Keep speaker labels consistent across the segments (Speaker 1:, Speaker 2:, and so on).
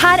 Speaker 1: her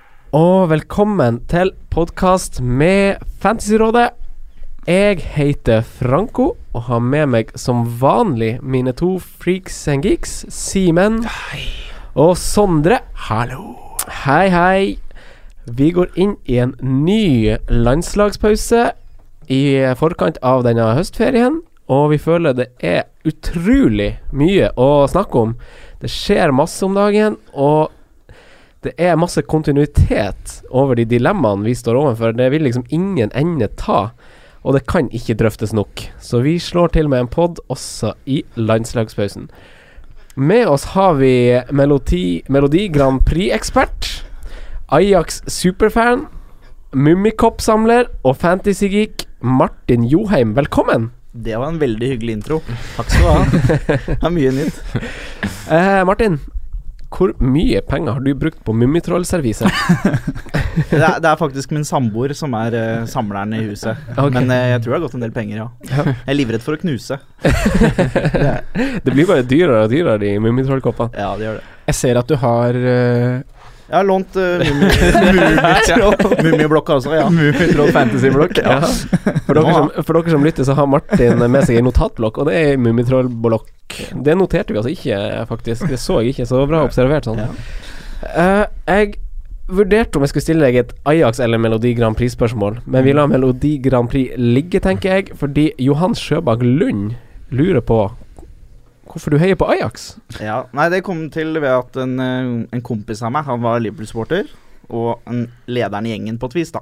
Speaker 2: og velkommen til podkast med Fantasyrådet. Jeg heter Franco og har med meg som vanlig mine to freaks and geeks, Simen og Sondre. Hallo. Hei, hei. Vi går inn i en ny landslagspause i forkant av denne høstferien, og vi føler det er utrolig mye å snakke om. Det skjer masse om dagen, og det er masse kontinuitet over de dilemmaene vi står overfor. Det vil liksom ingen ende ta, og det kan ikke drøftes nok. Så vi slår til med en pod også i landslagspausen. Med oss har vi Melodi, Melodi Grand Prix-ekspert, Ajax superfan, Mummikopp-samler og fantasygeek Martin Joheim. Velkommen!
Speaker 3: Det var en veldig hyggelig intro. Takk skal du ha. Det er mye nytt.
Speaker 2: Eh, Martin, hvor mye penger har du brukt på Mummitroll-serviset?
Speaker 3: Det er, det er faktisk min samboer som er eh, samleren i huset.
Speaker 2: Ok.
Speaker 3: Men eh, jeg tror det har gått en del penger, ja. Jeg er livredd for å knuse.
Speaker 2: Det blir bare dyrere og dyrere, de Mummitroll-koppene.
Speaker 3: Ja, det gjør det.
Speaker 4: Jeg ser at du har eh,
Speaker 3: Jeg har lånt eh, Mummi- Mummiblokka også, ja.
Speaker 4: Mummitroll Fantasyblokk.
Speaker 2: Ja. For, dere som, for dere som lytter, så har Martin med seg en notatblokk, og det er en mummitrollblokk. Det noterte vi altså ikke, faktisk. Det så jeg ikke, så bra observert sånn. Eh, jeg vurderte om jeg skulle stille deg et Ajax eller Melodi Grand Prix-spørsmål, men vi lar Melodi Grand Prix ligge, tenker jeg, fordi Johan Sjøbakk Lund lurer på hvorfor du heier på Ajax.
Speaker 3: ja. Nei, det kom til ved at en, eh, en kompis av meg, han var Liverpool-supporter, og en lederen i gjengen på et vis, da.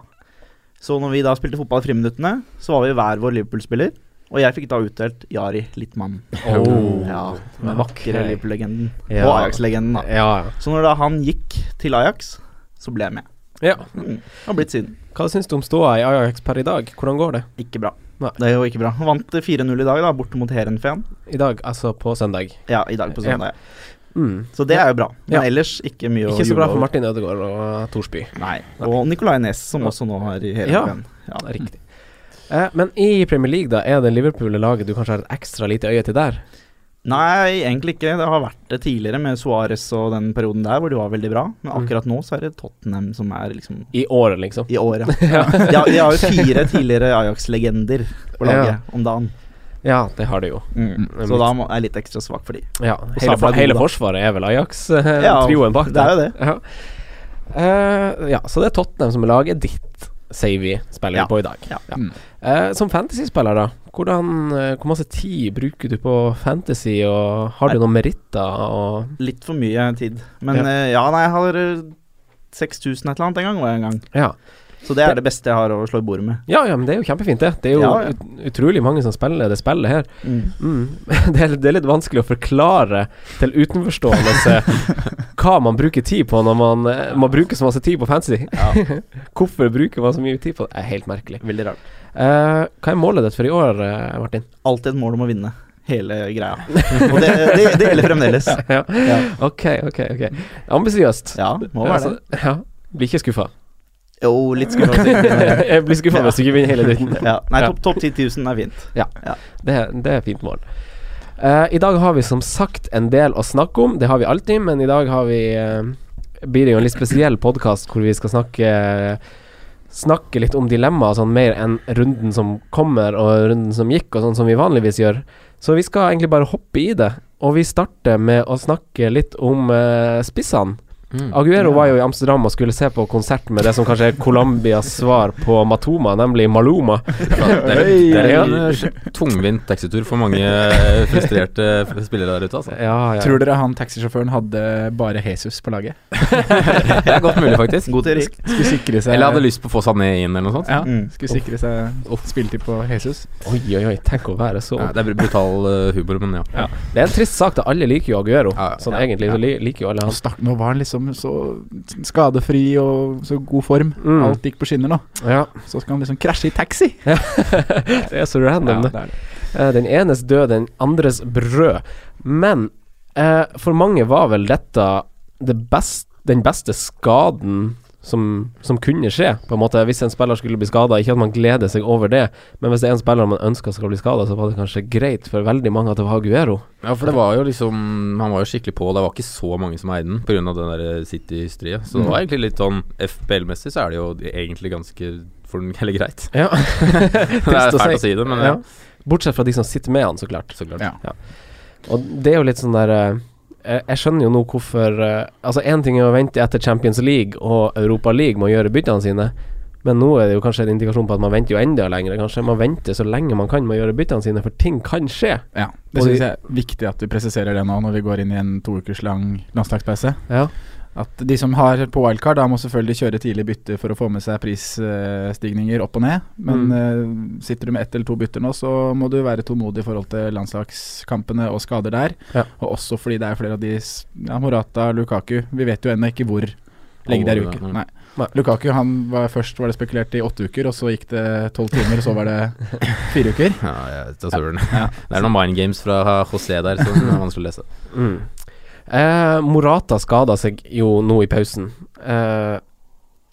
Speaker 3: Så når vi da spilte fotball i friminuttene, så var vi hver vår Liverpool-spiller. Og jeg fikk da utdelt Jari Littmann.
Speaker 2: Oh.
Speaker 3: ja,
Speaker 2: Men
Speaker 3: den vakre
Speaker 2: vakre.
Speaker 3: Liverpool-legenden.
Speaker 2: Ja.
Speaker 3: Og Ajax-legenden, da.
Speaker 2: Ja,
Speaker 3: Så når da han gikk til Ajax, så ble jeg med.
Speaker 2: ja.
Speaker 3: Mm. Har blitt siden.
Speaker 2: Hva syns du om ståa i Ajax per i dag? Hvordan går det
Speaker 3: Ikke bra.
Speaker 2: Nei.
Speaker 3: Det er jo ikke bra. Han Vant 4-0 i dag, da, borte mot Heerenveen.
Speaker 2: i dag, altså på søndag?
Speaker 3: Ja, i dag på
Speaker 2: Ja.
Speaker 3: søndag. ja.
Speaker 2: Mm.
Speaker 3: Så det er jo bra. Men
Speaker 2: Ja.
Speaker 3: ellers ikke mye å
Speaker 2: Ikke så bra
Speaker 3: juble
Speaker 2: for
Speaker 3: over.
Speaker 2: Martin Ødegaard og Thorsby.
Speaker 3: Nei. Og Nicolay Næss, som også nå har i Heerenveen. Ja.
Speaker 2: Ja, Riktig. Eh, men i Premier League, da, er det Liverpool-laget du kanskje har et ekstra lite øye til der?
Speaker 3: Nei, egentlig ikke. Det har vært det tidligere med Suárez og den perioden der hvor de var veldig bra. Men akkurat nå så er det Tottenham som er liksom
Speaker 2: I året, liksom.
Speaker 3: i året. Ja. De, har, de har jo fire tidligere Ajax-legender på laget om dagen.
Speaker 2: Ja, det har det jo.
Speaker 3: Mm. Så da må, er jeg litt ekstra svak for de.
Speaker 2: Ja, hele,
Speaker 3: Sabla
Speaker 2: for, hele
Speaker 3: Goda.
Speaker 2: forsvaret er vel
Speaker 3: Ja,
Speaker 2: Ajax-trioen bak
Speaker 3: det er jo det.
Speaker 2: Ja. Eh, ja, så det er Tottenham som er laget ditt, sier vi, spiller
Speaker 3: Ja.
Speaker 2: på i dag.
Speaker 3: Ja.
Speaker 2: Eh, som fantasyspiller, da, hvordan, eh, hvor masse tid bruker du på fantasy, og har du noen meritter? Og,
Speaker 3: Litt for mye tid. Men
Speaker 2: Ja.
Speaker 3: ja, ja nei, jeg har eh, 6000 et eller annet en gang, var jeg en gang.
Speaker 2: ja.
Speaker 3: Så det er det beste jeg har å slå i bordet med.
Speaker 2: ja, ja, men det er jo kjempefint, det. Det er jo
Speaker 3: Ja, ja.
Speaker 2: ut- utrolig mange som spiller det spillet her.
Speaker 3: Mm.
Speaker 2: Mm. Det, er, det er litt vanskelig å forklare til utenforstående hva man bruker tid på når man, eh, man bruker så masse tid på fantasy. Hvorfor bruker man så mye tid på det? Det er helt merkelig.
Speaker 3: Veldig rart.
Speaker 2: Eh, hva er målet ditt for i år, eh, Martin?
Speaker 3: Alltid et mål om å vinne hele greia. Og det, det, det gjelder fremdeles.
Speaker 2: Ja. Ok, ok. ok Ambisiøst.
Speaker 3: Ja, må være det.
Speaker 2: Altså, ja. Blir ikke skuffa.
Speaker 3: Jo, litt skummelt. å si.
Speaker 2: Jeg blir skuffa
Speaker 3: Ja.
Speaker 2: hvis du ikke vinner hele dritten.
Speaker 3: Ja. Nei,
Speaker 2: Ja.
Speaker 3: topp top 10 000 er fint.
Speaker 2: Det, det er et fint mål. Eh, I dag har vi som sagt en del å snakke om. Det har vi alltid, men i dag har vi eh, blir det jo en litt spesiell podkast hvor vi skal snakke Snakke litt om dilemmaer sånn mer enn runden som kommer og runden som gikk, og sånn som vi vanligvis gjør. Så vi skal egentlig bare hoppe i det. Og vi starter med å snakke litt om eh, spissene. Aguero var jo i Amsterdam og skulle se på konsert med det som kanskje er Colombias svar på Matoma, nemlig Maluma.
Speaker 5: Det er, det er en eh, tungvint taxitur for mange eh, frustrerte f- spillere der ute, altså.
Speaker 2: Ja, ja.
Speaker 4: Tror dere han taxisjåføren hadde bare Jesus på laget?
Speaker 5: Det er godt mulig, faktisk.
Speaker 3: God teori.
Speaker 4: Skulle sikre seg
Speaker 5: Eller hadde lyst på å få Sané inn, eller noe sånt.
Speaker 4: Ja,
Speaker 3: Mm.
Speaker 4: skulle sikre seg spilletid på Jesus.
Speaker 2: Oi, oi, oi, tenk å være så
Speaker 5: Ja, det er br- brutal eh, humor, men ja.
Speaker 2: Det er en trist sak, da. Alle liker jo Aguero.
Speaker 5: Ja, ja.
Speaker 2: Sånn egentlig så li liker jo alle
Speaker 4: Han
Speaker 2: han.
Speaker 4: stakk, nå var han liksom så skadefri og så god form.
Speaker 2: Mm.
Speaker 4: Alt gikk på skinner nå.
Speaker 2: Ja.
Speaker 4: Så skal han liksom krasje i taxi!
Speaker 2: Det er så random, det.
Speaker 4: det er det.
Speaker 2: Eh, Den enes død, den andres brød. Men eh, for mange var vel dette det best, den beste skaden som, som kunne skje, på en måte. Hvis en spiller skulle bli skada, ikke at man gleder seg over det, men hvis det er en spiller man ønsker skal bli skada, så var det kanskje greit for veldig mange at det var Aguero.
Speaker 5: Ja, for det var jo liksom Han var jo skikkelig på, og det var ikke så mange som eide den pga. den der City-hysteriet. Så det var egentlig litt sånn FPL-messig så er det jo egentlig ganske for den hele greit.
Speaker 2: Ja.
Speaker 5: Det er fælt å si det, men eh, ja.
Speaker 2: Bortsett fra de som sitter med han, så klart.
Speaker 5: Så klart.
Speaker 4: Ja.
Speaker 2: Og det er jo litt sånn der eh, jeg- Jeg skjønner jo nå hvorfor eh, Altså, én ting er å vente etter Champions League og Europa League med å gjøre byttene sine, men nå er det jo kanskje en indikasjon på at man venter jo enda lenger, kanskje. Man venter så lenge man kan med å gjøre byttene sine, for ting kan skje.
Speaker 4: Ja. Det
Speaker 2: Og de-
Speaker 4: syns jeg er viktig at du presiserer det nå når vi går inn i en to ukers lang landslagspause.
Speaker 2: Ja.
Speaker 4: At de som har på wildcard, da må selvfølgelig kjøre tidlig bytte for å få med seg prisstigninger opp og ned. Men
Speaker 2: Mm.
Speaker 4: eh, sitter du med ett eller to bytter nå, så må du være tålmodig i forhold til landslagskampene og skader der.
Speaker 2: Ja.
Speaker 4: Og også fordi det er flere av de s- ja, Morata, Lukaku Vi vet jo ennå ikke hvor lenge det er
Speaker 5: Alvorlig,
Speaker 4: uker.
Speaker 5: nei.
Speaker 4: Nei.
Speaker 2: Nei.
Speaker 4: Lukaku han var først var det spekulert i åtte uker, og så gikk det tolv timer, og så var det fire uker.
Speaker 5: Ja, jeg tar søren. Det er noen mind games fra José der som er vanskelig å lese.
Speaker 2: Mm. Eh, Morata skada seg jo nå i pausen, eh,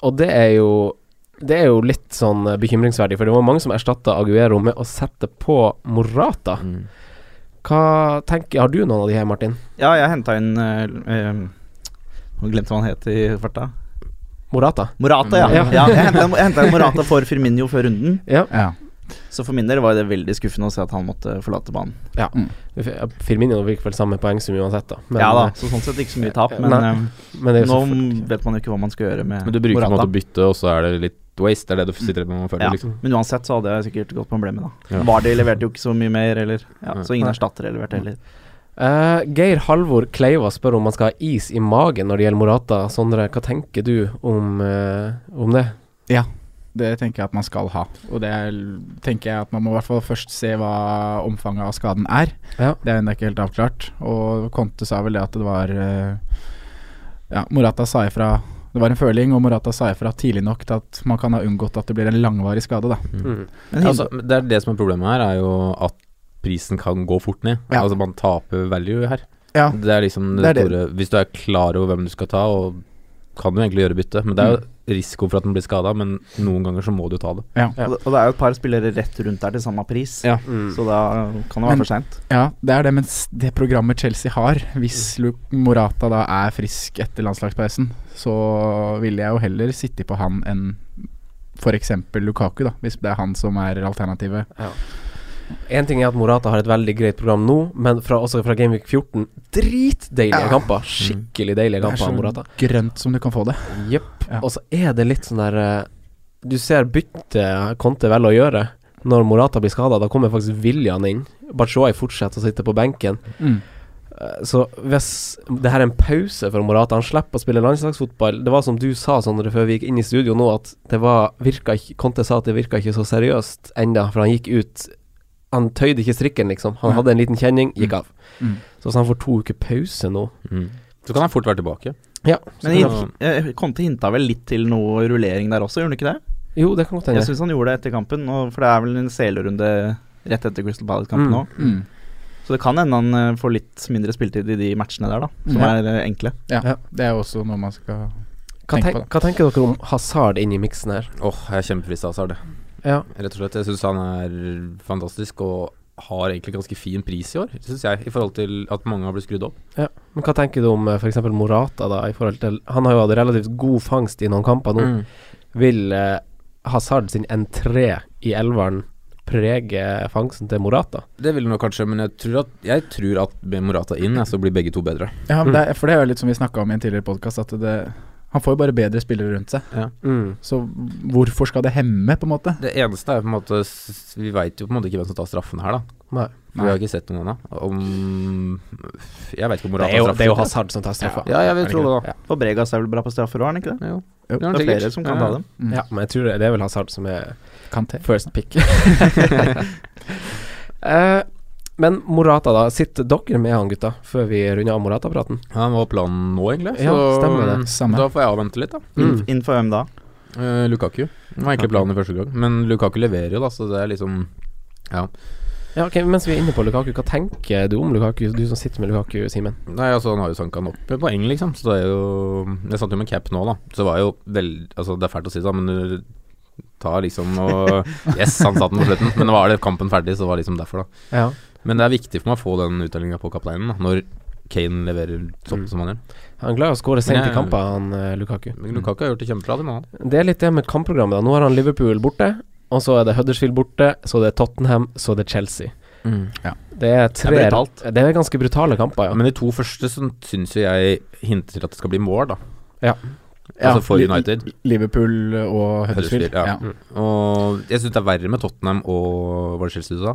Speaker 2: og det er jo det er jo litt sånn eh, bekymringsverdig, for det var mange som erstatta Aguero med å sette på Morata.
Speaker 3: Mm.
Speaker 2: Hva tenker Har du noen av de her, Martin?
Speaker 3: Ja, jeg henta inn eh, eh, Nå glemte jeg hva han het i farta.
Speaker 2: Morata?
Speaker 3: Morata, ja.
Speaker 2: Ja.
Speaker 3: ja jeg henta jeg hentet inn Morata for Firmino før runden.
Speaker 2: Ja.
Speaker 4: Ja.
Speaker 3: Så for min del var det veldig skuffende å se at han måtte forlate banen.
Speaker 2: eh, Firmino fikk vel samme poengsum uansett, da. Men, eh,
Speaker 3: ja da, så sånn sett ikke så mye tap, men
Speaker 2: Nei.
Speaker 3: eh,
Speaker 2: men det er
Speaker 3: nå
Speaker 2: jo så
Speaker 3: vet man jo ikke hva man skal gjøre med
Speaker 5: Men du bruker på en
Speaker 3: Morata.
Speaker 5: måte å bytte, og så er det litt waste. Det er det du sitter igjen med og føler,
Speaker 3: Ja.
Speaker 5: liksom.
Speaker 3: Men uansett så hadde jeg sikkert gått på emblemet, da.
Speaker 5: Ja.
Speaker 3: Vardy leverte jo ikke så mye mer, eller ja,
Speaker 5: Nei.
Speaker 3: Så ingen erstattere leverte heller.
Speaker 2: Eh, Geir Halvor Kleiva spør om man skal ha is i magen når det gjelder Morata. Sondre, hva tenker du om, eh, om det?
Speaker 4: Det tenker jeg at man skal ha. Og det er, tenker jeg at man må i hvert fall først se hva omfanget av skaden er.
Speaker 2: Ja.
Speaker 4: Det er ennå ikke helt avklart. Og Conte sa vel det at det var eh, Ja, Morata sa ifra Det var en føling, og Morata sa ifra tidlig nok til at man kan ha unngått at det blir en langvarig skade, da.
Speaker 2: Mm.
Speaker 3: Men
Speaker 5: Ja, altså, det er det som er problemet her, er jo at prisen kan gå fort ned.
Speaker 4: Ja.
Speaker 5: Altså man taper value her.
Speaker 4: Ja.
Speaker 5: Det er liksom det,
Speaker 4: Det er det.
Speaker 5: store Hvis du er klar over hvem du skal ta, og kan du egentlig gjøre bytte, men det er
Speaker 4: Mm.
Speaker 5: jo risiko for at den blir skada, men noen ganger så må du ta det.
Speaker 3: Og det- og det er jo et par spillere rett rundt der til samme pris,
Speaker 4: Ja.
Speaker 2: Mm.
Speaker 3: så da kan det være for
Speaker 4: Men-
Speaker 3: seint.
Speaker 4: Ja, det er det, men s- det programmet Chelsea har Hvis Lu- Morata da er frisk etter landslagspausen, så ville jeg jo heller sitte på han enn f.eks. Lukaku, da, hvis det er han som er alternativet.
Speaker 2: En ting er at Morata har et veldig greit program nå, men fra, også fra Gameweek 14 dritdeilige
Speaker 4: Ja. Mm.
Speaker 2: kamper. Skikkelig deilige
Speaker 4: Det er
Speaker 2: kamper av
Speaker 4: så
Speaker 2: Morata.
Speaker 4: grønt som du kan få det.
Speaker 2: Jepp.
Speaker 4: Ja.
Speaker 2: Og så er det litt sånn der eh, Du ser byttet Conte velger å gjøre. Når Morata blir skada, da kommer faktisk William inn. Bachoai fortsetter å sitte på benken.
Speaker 4: Mm,
Speaker 2: Eh, Så hvis det her er en pause for Morata, han slipper å spille landslagsfotball Det var som du sa, Sondre, før vi gikk inn i studio nå, at det var virka ikke, Conte sa at det virka ikke så seriøst enda for han gikk ut Han tøyde ikke strikken, liksom. Han
Speaker 4: Nei.
Speaker 2: hadde en liten kjenning, gikk av.
Speaker 4: Mm.
Speaker 2: Så hvis han får to uker pause nå
Speaker 5: Så kan han fort være tilbake.
Speaker 2: Ja, så
Speaker 3: Men
Speaker 2: kan
Speaker 5: i-
Speaker 2: han-
Speaker 3: jeg, jeg kom til hinta vel litt til noe rullering der også, gjorde han ikke det?
Speaker 2: Jo, det kan godt
Speaker 3: Jeg
Speaker 2: hende.
Speaker 3: syns han gjorde det etter kampen, og, for det er vel en selerunde rett etter Crystal Palace-kampen
Speaker 2: Mm.
Speaker 3: òg. Så det kan hende han eh, får litt mindre spiltid i de matchene der, da, som
Speaker 4: Ja.
Speaker 3: er eh, enkle.
Speaker 4: Ja,
Speaker 2: Ja.
Speaker 4: det er jo også noe man skal
Speaker 2: Hva,
Speaker 4: tenk
Speaker 2: tenk,
Speaker 4: på det.
Speaker 2: hva tenker dere om Hazard inn i miksen her?
Speaker 5: Åh, jeg er kjempefrista av Sard.
Speaker 2: Ja.
Speaker 5: Rett og slett. Jeg syns han er fantastisk, og har egentlig ganske fin pris i år, syns jeg, i forhold til at mange har blitt skrudd opp.
Speaker 2: Men hva tenker du om f.eks. Morata, da? I forhold til, han har jo hatt relativt god
Speaker 4: Mm.
Speaker 2: fangst i noen kamper nå. Vil eh, Hazard sin entré i elveren prege fangsten til Morata?
Speaker 5: Det vil nok kanskje, men jeg tror at, jeg tror at med Morata inn, jeg, så blir begge to bedre.
Speaker 4: Ja, men det, er- for det er jo litt som vi snakka om i en tidligere podkast, at det, han får jo bare bedre spillere rundt seg.
Speaker 5: Ja.
Speaker 4: Så hvorfor skal det hemme, på en måte?
Speaker 5: Det eneste er på en måte s- Vi veit jo på en måte ikke hvem som tar straffen her, da.
Speaker 2: Nei.
Speaker 5: For Vi har ikke sett noen ennå. Om Jeg veit ikke om Morata
Speaker 2: Det er jo,
Speaker 5: straffer.
Speaker 2: det er jo Hazard som tar straffa.
Speaker 5: Ja, jeg vil
Speaker 4: Er det
Speaker 5: tro det, da.
Speaker 3: For Bregas er vel bra på straffer òg, er han ikke det?
Speaker 5: Jo.
Speaker 4: Jo,
Speaker 5: Ja,
Speaker 3: Det er
Speaker 5: sikkert.
Speaker 3: flere som kan
Speaker 5: Ja.
Speaker 3: ta dem.
Speaker 4: Mm.
Speaker 2: Ja, men jeg tror det, det er vel Hazard som er
Speaker 4: Kan til.
Speaker 2: First pick. eh, men Morata, da. Sitter dere med han, gutta, før vi runder av Morata-praten?
Speaker 5: Han var planen nå, egentlig. Så
Speaker 2: Ja, stemmer det.
Speaker 4: Samme.
Speaker 5: da får jeg avvente litt, da.
Speaker 2: Mm.
Speaker 3: Innenfor hvem da?
Speaker 5: Eh, Lukaku var egentlig planen i første gang, men Lukaku leverer jo, da, så det er liksom
Speaker 2: Ja, ok, Mens vi er inne på Lukaku, hva tenker du om Lukaku, du som sitter med Lukaku, Simen?
Speaker 5: Nei, altså han har jo sanka nok med poeng, liksom. Så det er jo Jeg satt jo med cap nå, da. Så det var jo veldig Altså, det er fælt å si det, da, men du tar liksom og Yes, han satt den på slutten, men var det kampen ferdig, så var det liksom derfor, da.
Speaker 2: Ja.
Speaker 5: Men det er viktig for meg å få den uttellinga på kapteinen, da, når Kane leverer sånn som han gjør.
Speaker 2: Han er glad i å skåre sent
Speaker 5: Men
Speaker 2: i
Speaker 5: jeg-
Speaker 2: kamper, han eh, Lukaku.
Speaker 5: Men Lukaku har gjort det kjempebra, det må han.
Speaker 2: Det er litt det med kampprogrammet. da Nå har han Liverpool borte, og så er det Huddersfield borte, så det er Tottenham, så det er Chelsea. Det er tre
Speaker 5: Mm, Det er brutalt.
Speaker 2: Det er ganske brutale kamper,
Speaker 5: Ja,
Speaker 2: ja.
Speaker 5: men de to første så syns jo jeg hinter til at det skal bli mål, da.
Speaker 2: Ja.
Speaker 5: Altså for
Speaker 4: Li-
Speaker 5: United.
Speaker 4: Liverpool og Huddersfield.
Speaker 5: Huddersfield, ja.
Speaker 4: Ja.
Speaker 5: Og jeg syns det er verre med Tottenham og Var det Chelsea du sa?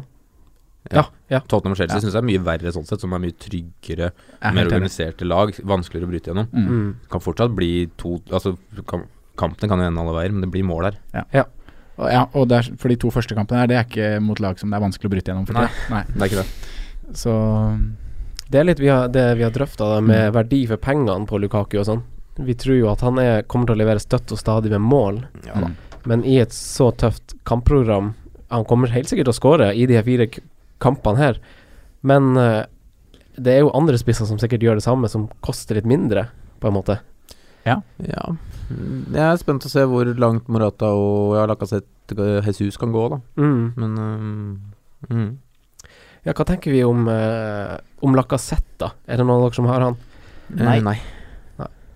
Speaker 2: Ja, ja.
Speaker 5: Tottenham og Chelsea
Speaker 4: Ja.
Speaker 5: synes jeg er mye verre sånn sett, som er mye tryggere,
Speaker 4: Jeg er
Speaker 5: mer
Speaker 4: helt enig.
Speaker 5: organiserte lag. Vanskeligere å bryte gjennom.
Speaker 2: Mm.
Speaker 5: Kan fortsatt bli to Altså, kam- kampene kan jo ende alle veier, men det blir mål her.
Speaker 4: Og, ja, og det er, for de to første kampene her, det er ikke mot lag som det er vanskelig å bryte gjennom. For
Speaker 5: Nei.
Speaker 4: tida. Nei.
Speaker 5: Det er ikke det.
Speaker 4: Så
Speaker 2: Det er litt vi har, det vi har drøfta, det med
Speaker 5: Mm.
Speaker 2: verdi for pengene på Lukaku og sånn. Vi tror jo at han er, kommer til å levere støtt og stadig med mål,
Speaker 5: Ja da.
Speaker 2: men i et så tøft kampprogram Han kommer helt sikkert til å skåre i de her fire k kampene her, men eh, det er jo andre spisser som sikkert gjør det samme, som koster litt mindre, på en måte.
Speaker 5: Ja. Jeg er spent å se hvor langt Morata og ja, Lacassette Jesus kan gå, da.
Speaker 2: Mm.
Speaker 5: Men eh, mm.
Speaker 2: Ja, hva tenker vi om, eh, om Lacassette, da? Er det noen av dere som har han?
Speaker 5: Nei. Nei.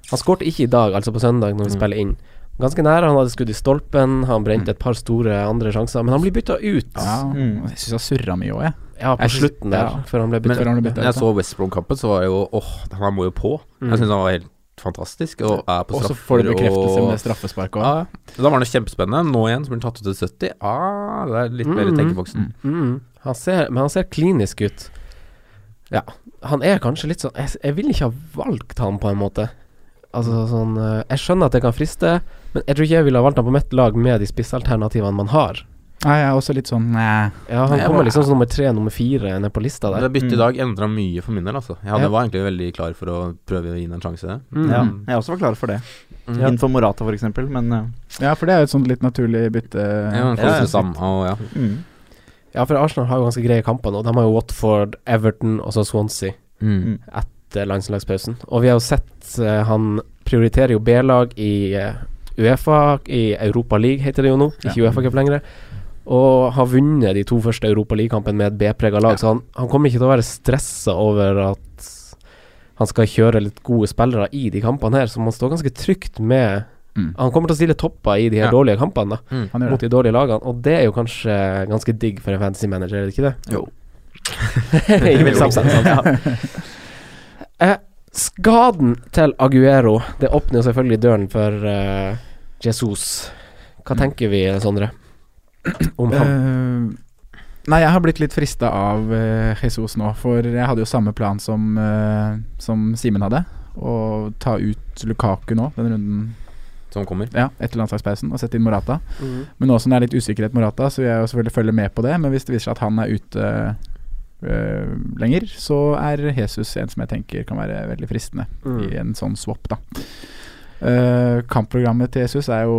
Speaker 2: Han skårte ikke i dag, altså på søndag, når vi
Speaker 5: Mm.
Speaker 2: spiller inn. Ganske nær. Han hadde skudd i stolpen, han brente et par store andre sjanser, men han blir bytta ut.
Speaker 4: ja,
Speaker 3: Mm.
Speaker 4: jeg syns jeg surra mye òg, jeg.
Speaker 2: Ja, på
Speaker 4: Jeg synes-
Speaker 2: slutten der,
Speaker 4: ja.
Speaker 2: før han ble
Speaker 5: Men
Speaker 2: bytta
Speaker 4: Før han ble
Speaker 5: når
Speaker 4: byttet
Speaker 5: jeg
Speaker 4: ut,
Speaker 5: så West Brom-kampen, så var jeg jo åh, han må jo på. Jeg syns han var helt fantastisk, og er på
Speaker 4: Og så
Speaker 5: straffer.
Speaker 4: får du bekreftelse
Speaker 5: og-
Speaker 4: med det straffesparket
Speaker 5: Ja,
Speaker 4: òg.
Speaker 5: ja. Da var han jo kjempespennende. Nå igjen så blir han tatt ut til 70. Ah, det er litt mer i
Speaker 2: Mm.
Speaker 5: tenkeboksen.
Speaker 2: Mm. Han ser, men han ser klinisk ut. Ja. Han er kanskje litt sånn Jeg, s- jeg ville ikke ha valgt han på en måte.
Speaker 5: Mm.
Speaker 2: Altså sånn eh, Jeg skjønner at det kan friste, men jeg tror ikke jeg ville ha valgt han på mitt lag med de spissalternativene man har.
Speaker 4: Ja, jeg er også litt sånn eh,
Speaker 2: Ja, Han
Speaker 5: Nei, jeg
Speaker 2: kommer
Speaker 5: var-
Speaker 2: liksom som nummer tre, nummer fire ned på lista
Speaker 5: Det
Speaker 2: der.
Speaker 5: byttet i
Speaker 3: Mm.
Speaker 5: dag endra mye for min del, altså. Jeg hadde,
Speaker 2: Ja.
Speaker 5: var egentlig veldig klar for å prøve å gi den en sjanse.
Speaker 2: Mm.
Speaker 3: Ja,
Speaker 5: Mm.
Speaker 3: jeg også var klar for det.
Speaker 5: Mm.
Speaker 3: Innenfor Morata, for eksempel, men eh,
Speaker 4: Ja, for det er jo et sånt litt naturlig bytte.
Speaker 5: Ja, men
Speaker 3: Ja, ja.
Speaker 5: Fosen Sam, og ja.
Speaker 3: mm.
Speaker 2: Ja, for Arsenal har jo ganske greie kamper nå. De har jo Watford, Everton og så Swansea
Speaker 5: Mm.
Speaker 2: etter landslagspausen. Og vi har jo sett eh, han prioriterer jo B-lag i eh, Uefa, i Europa League heter det jo nå, ikke
Speaker 4: Ja.
Speaker 2: Uefa Cup lenger. Og har vunnet de to første Europa League-kampene med et B-prega lag, så han, han kommer ikke til å være stressa over at han skal kjøre litt gode spillere i de kampene her, så man står ganske trygt med
Speaker 4: Mm.
Speaker 2: Han kommer til å stille topper i de her
Speaker 5: Ja.
Speaker 2: dårlige kampene, da
Speaker 4: Han gjør
Speaker 2: mot
Speaker 4: det.
Speaker 2: de dårlige lagene, og det er jo kanskje ganske digg for en fantasy manager, er det ikke det?
Speaker 5: Jo.
Speaker 2: I vill sammenheng, sant? Eh, Skaden til Aguero, det åpner jo selvfølgelig døren for eh, Jesus. Hva tenker vi, Sondre, om ham?
Speaker 4: Eh, nei, jeg har blitt litt frista av eh, Jesus nå, for jeg hadde jo samme plan som, eh, som Simen hadde. Å ta ut Lukaku nå, den runden
Speaker 5: Som kommer.
Speaker 4: ja, etter landslagspausen, og sette inn Morata. Men nå som det er litt usikkerhet med Morata, så vil jeg jo selvfølgelig følge med på det. Men hvis det viser seg at han er ute øh, lenger, så er Jesus en som jeg tenker kan være veldig fristende
Speaker 2: Mm.
Speaker 4: i en sånn swap, da. Eh, kampprogrammet til Jesus er jo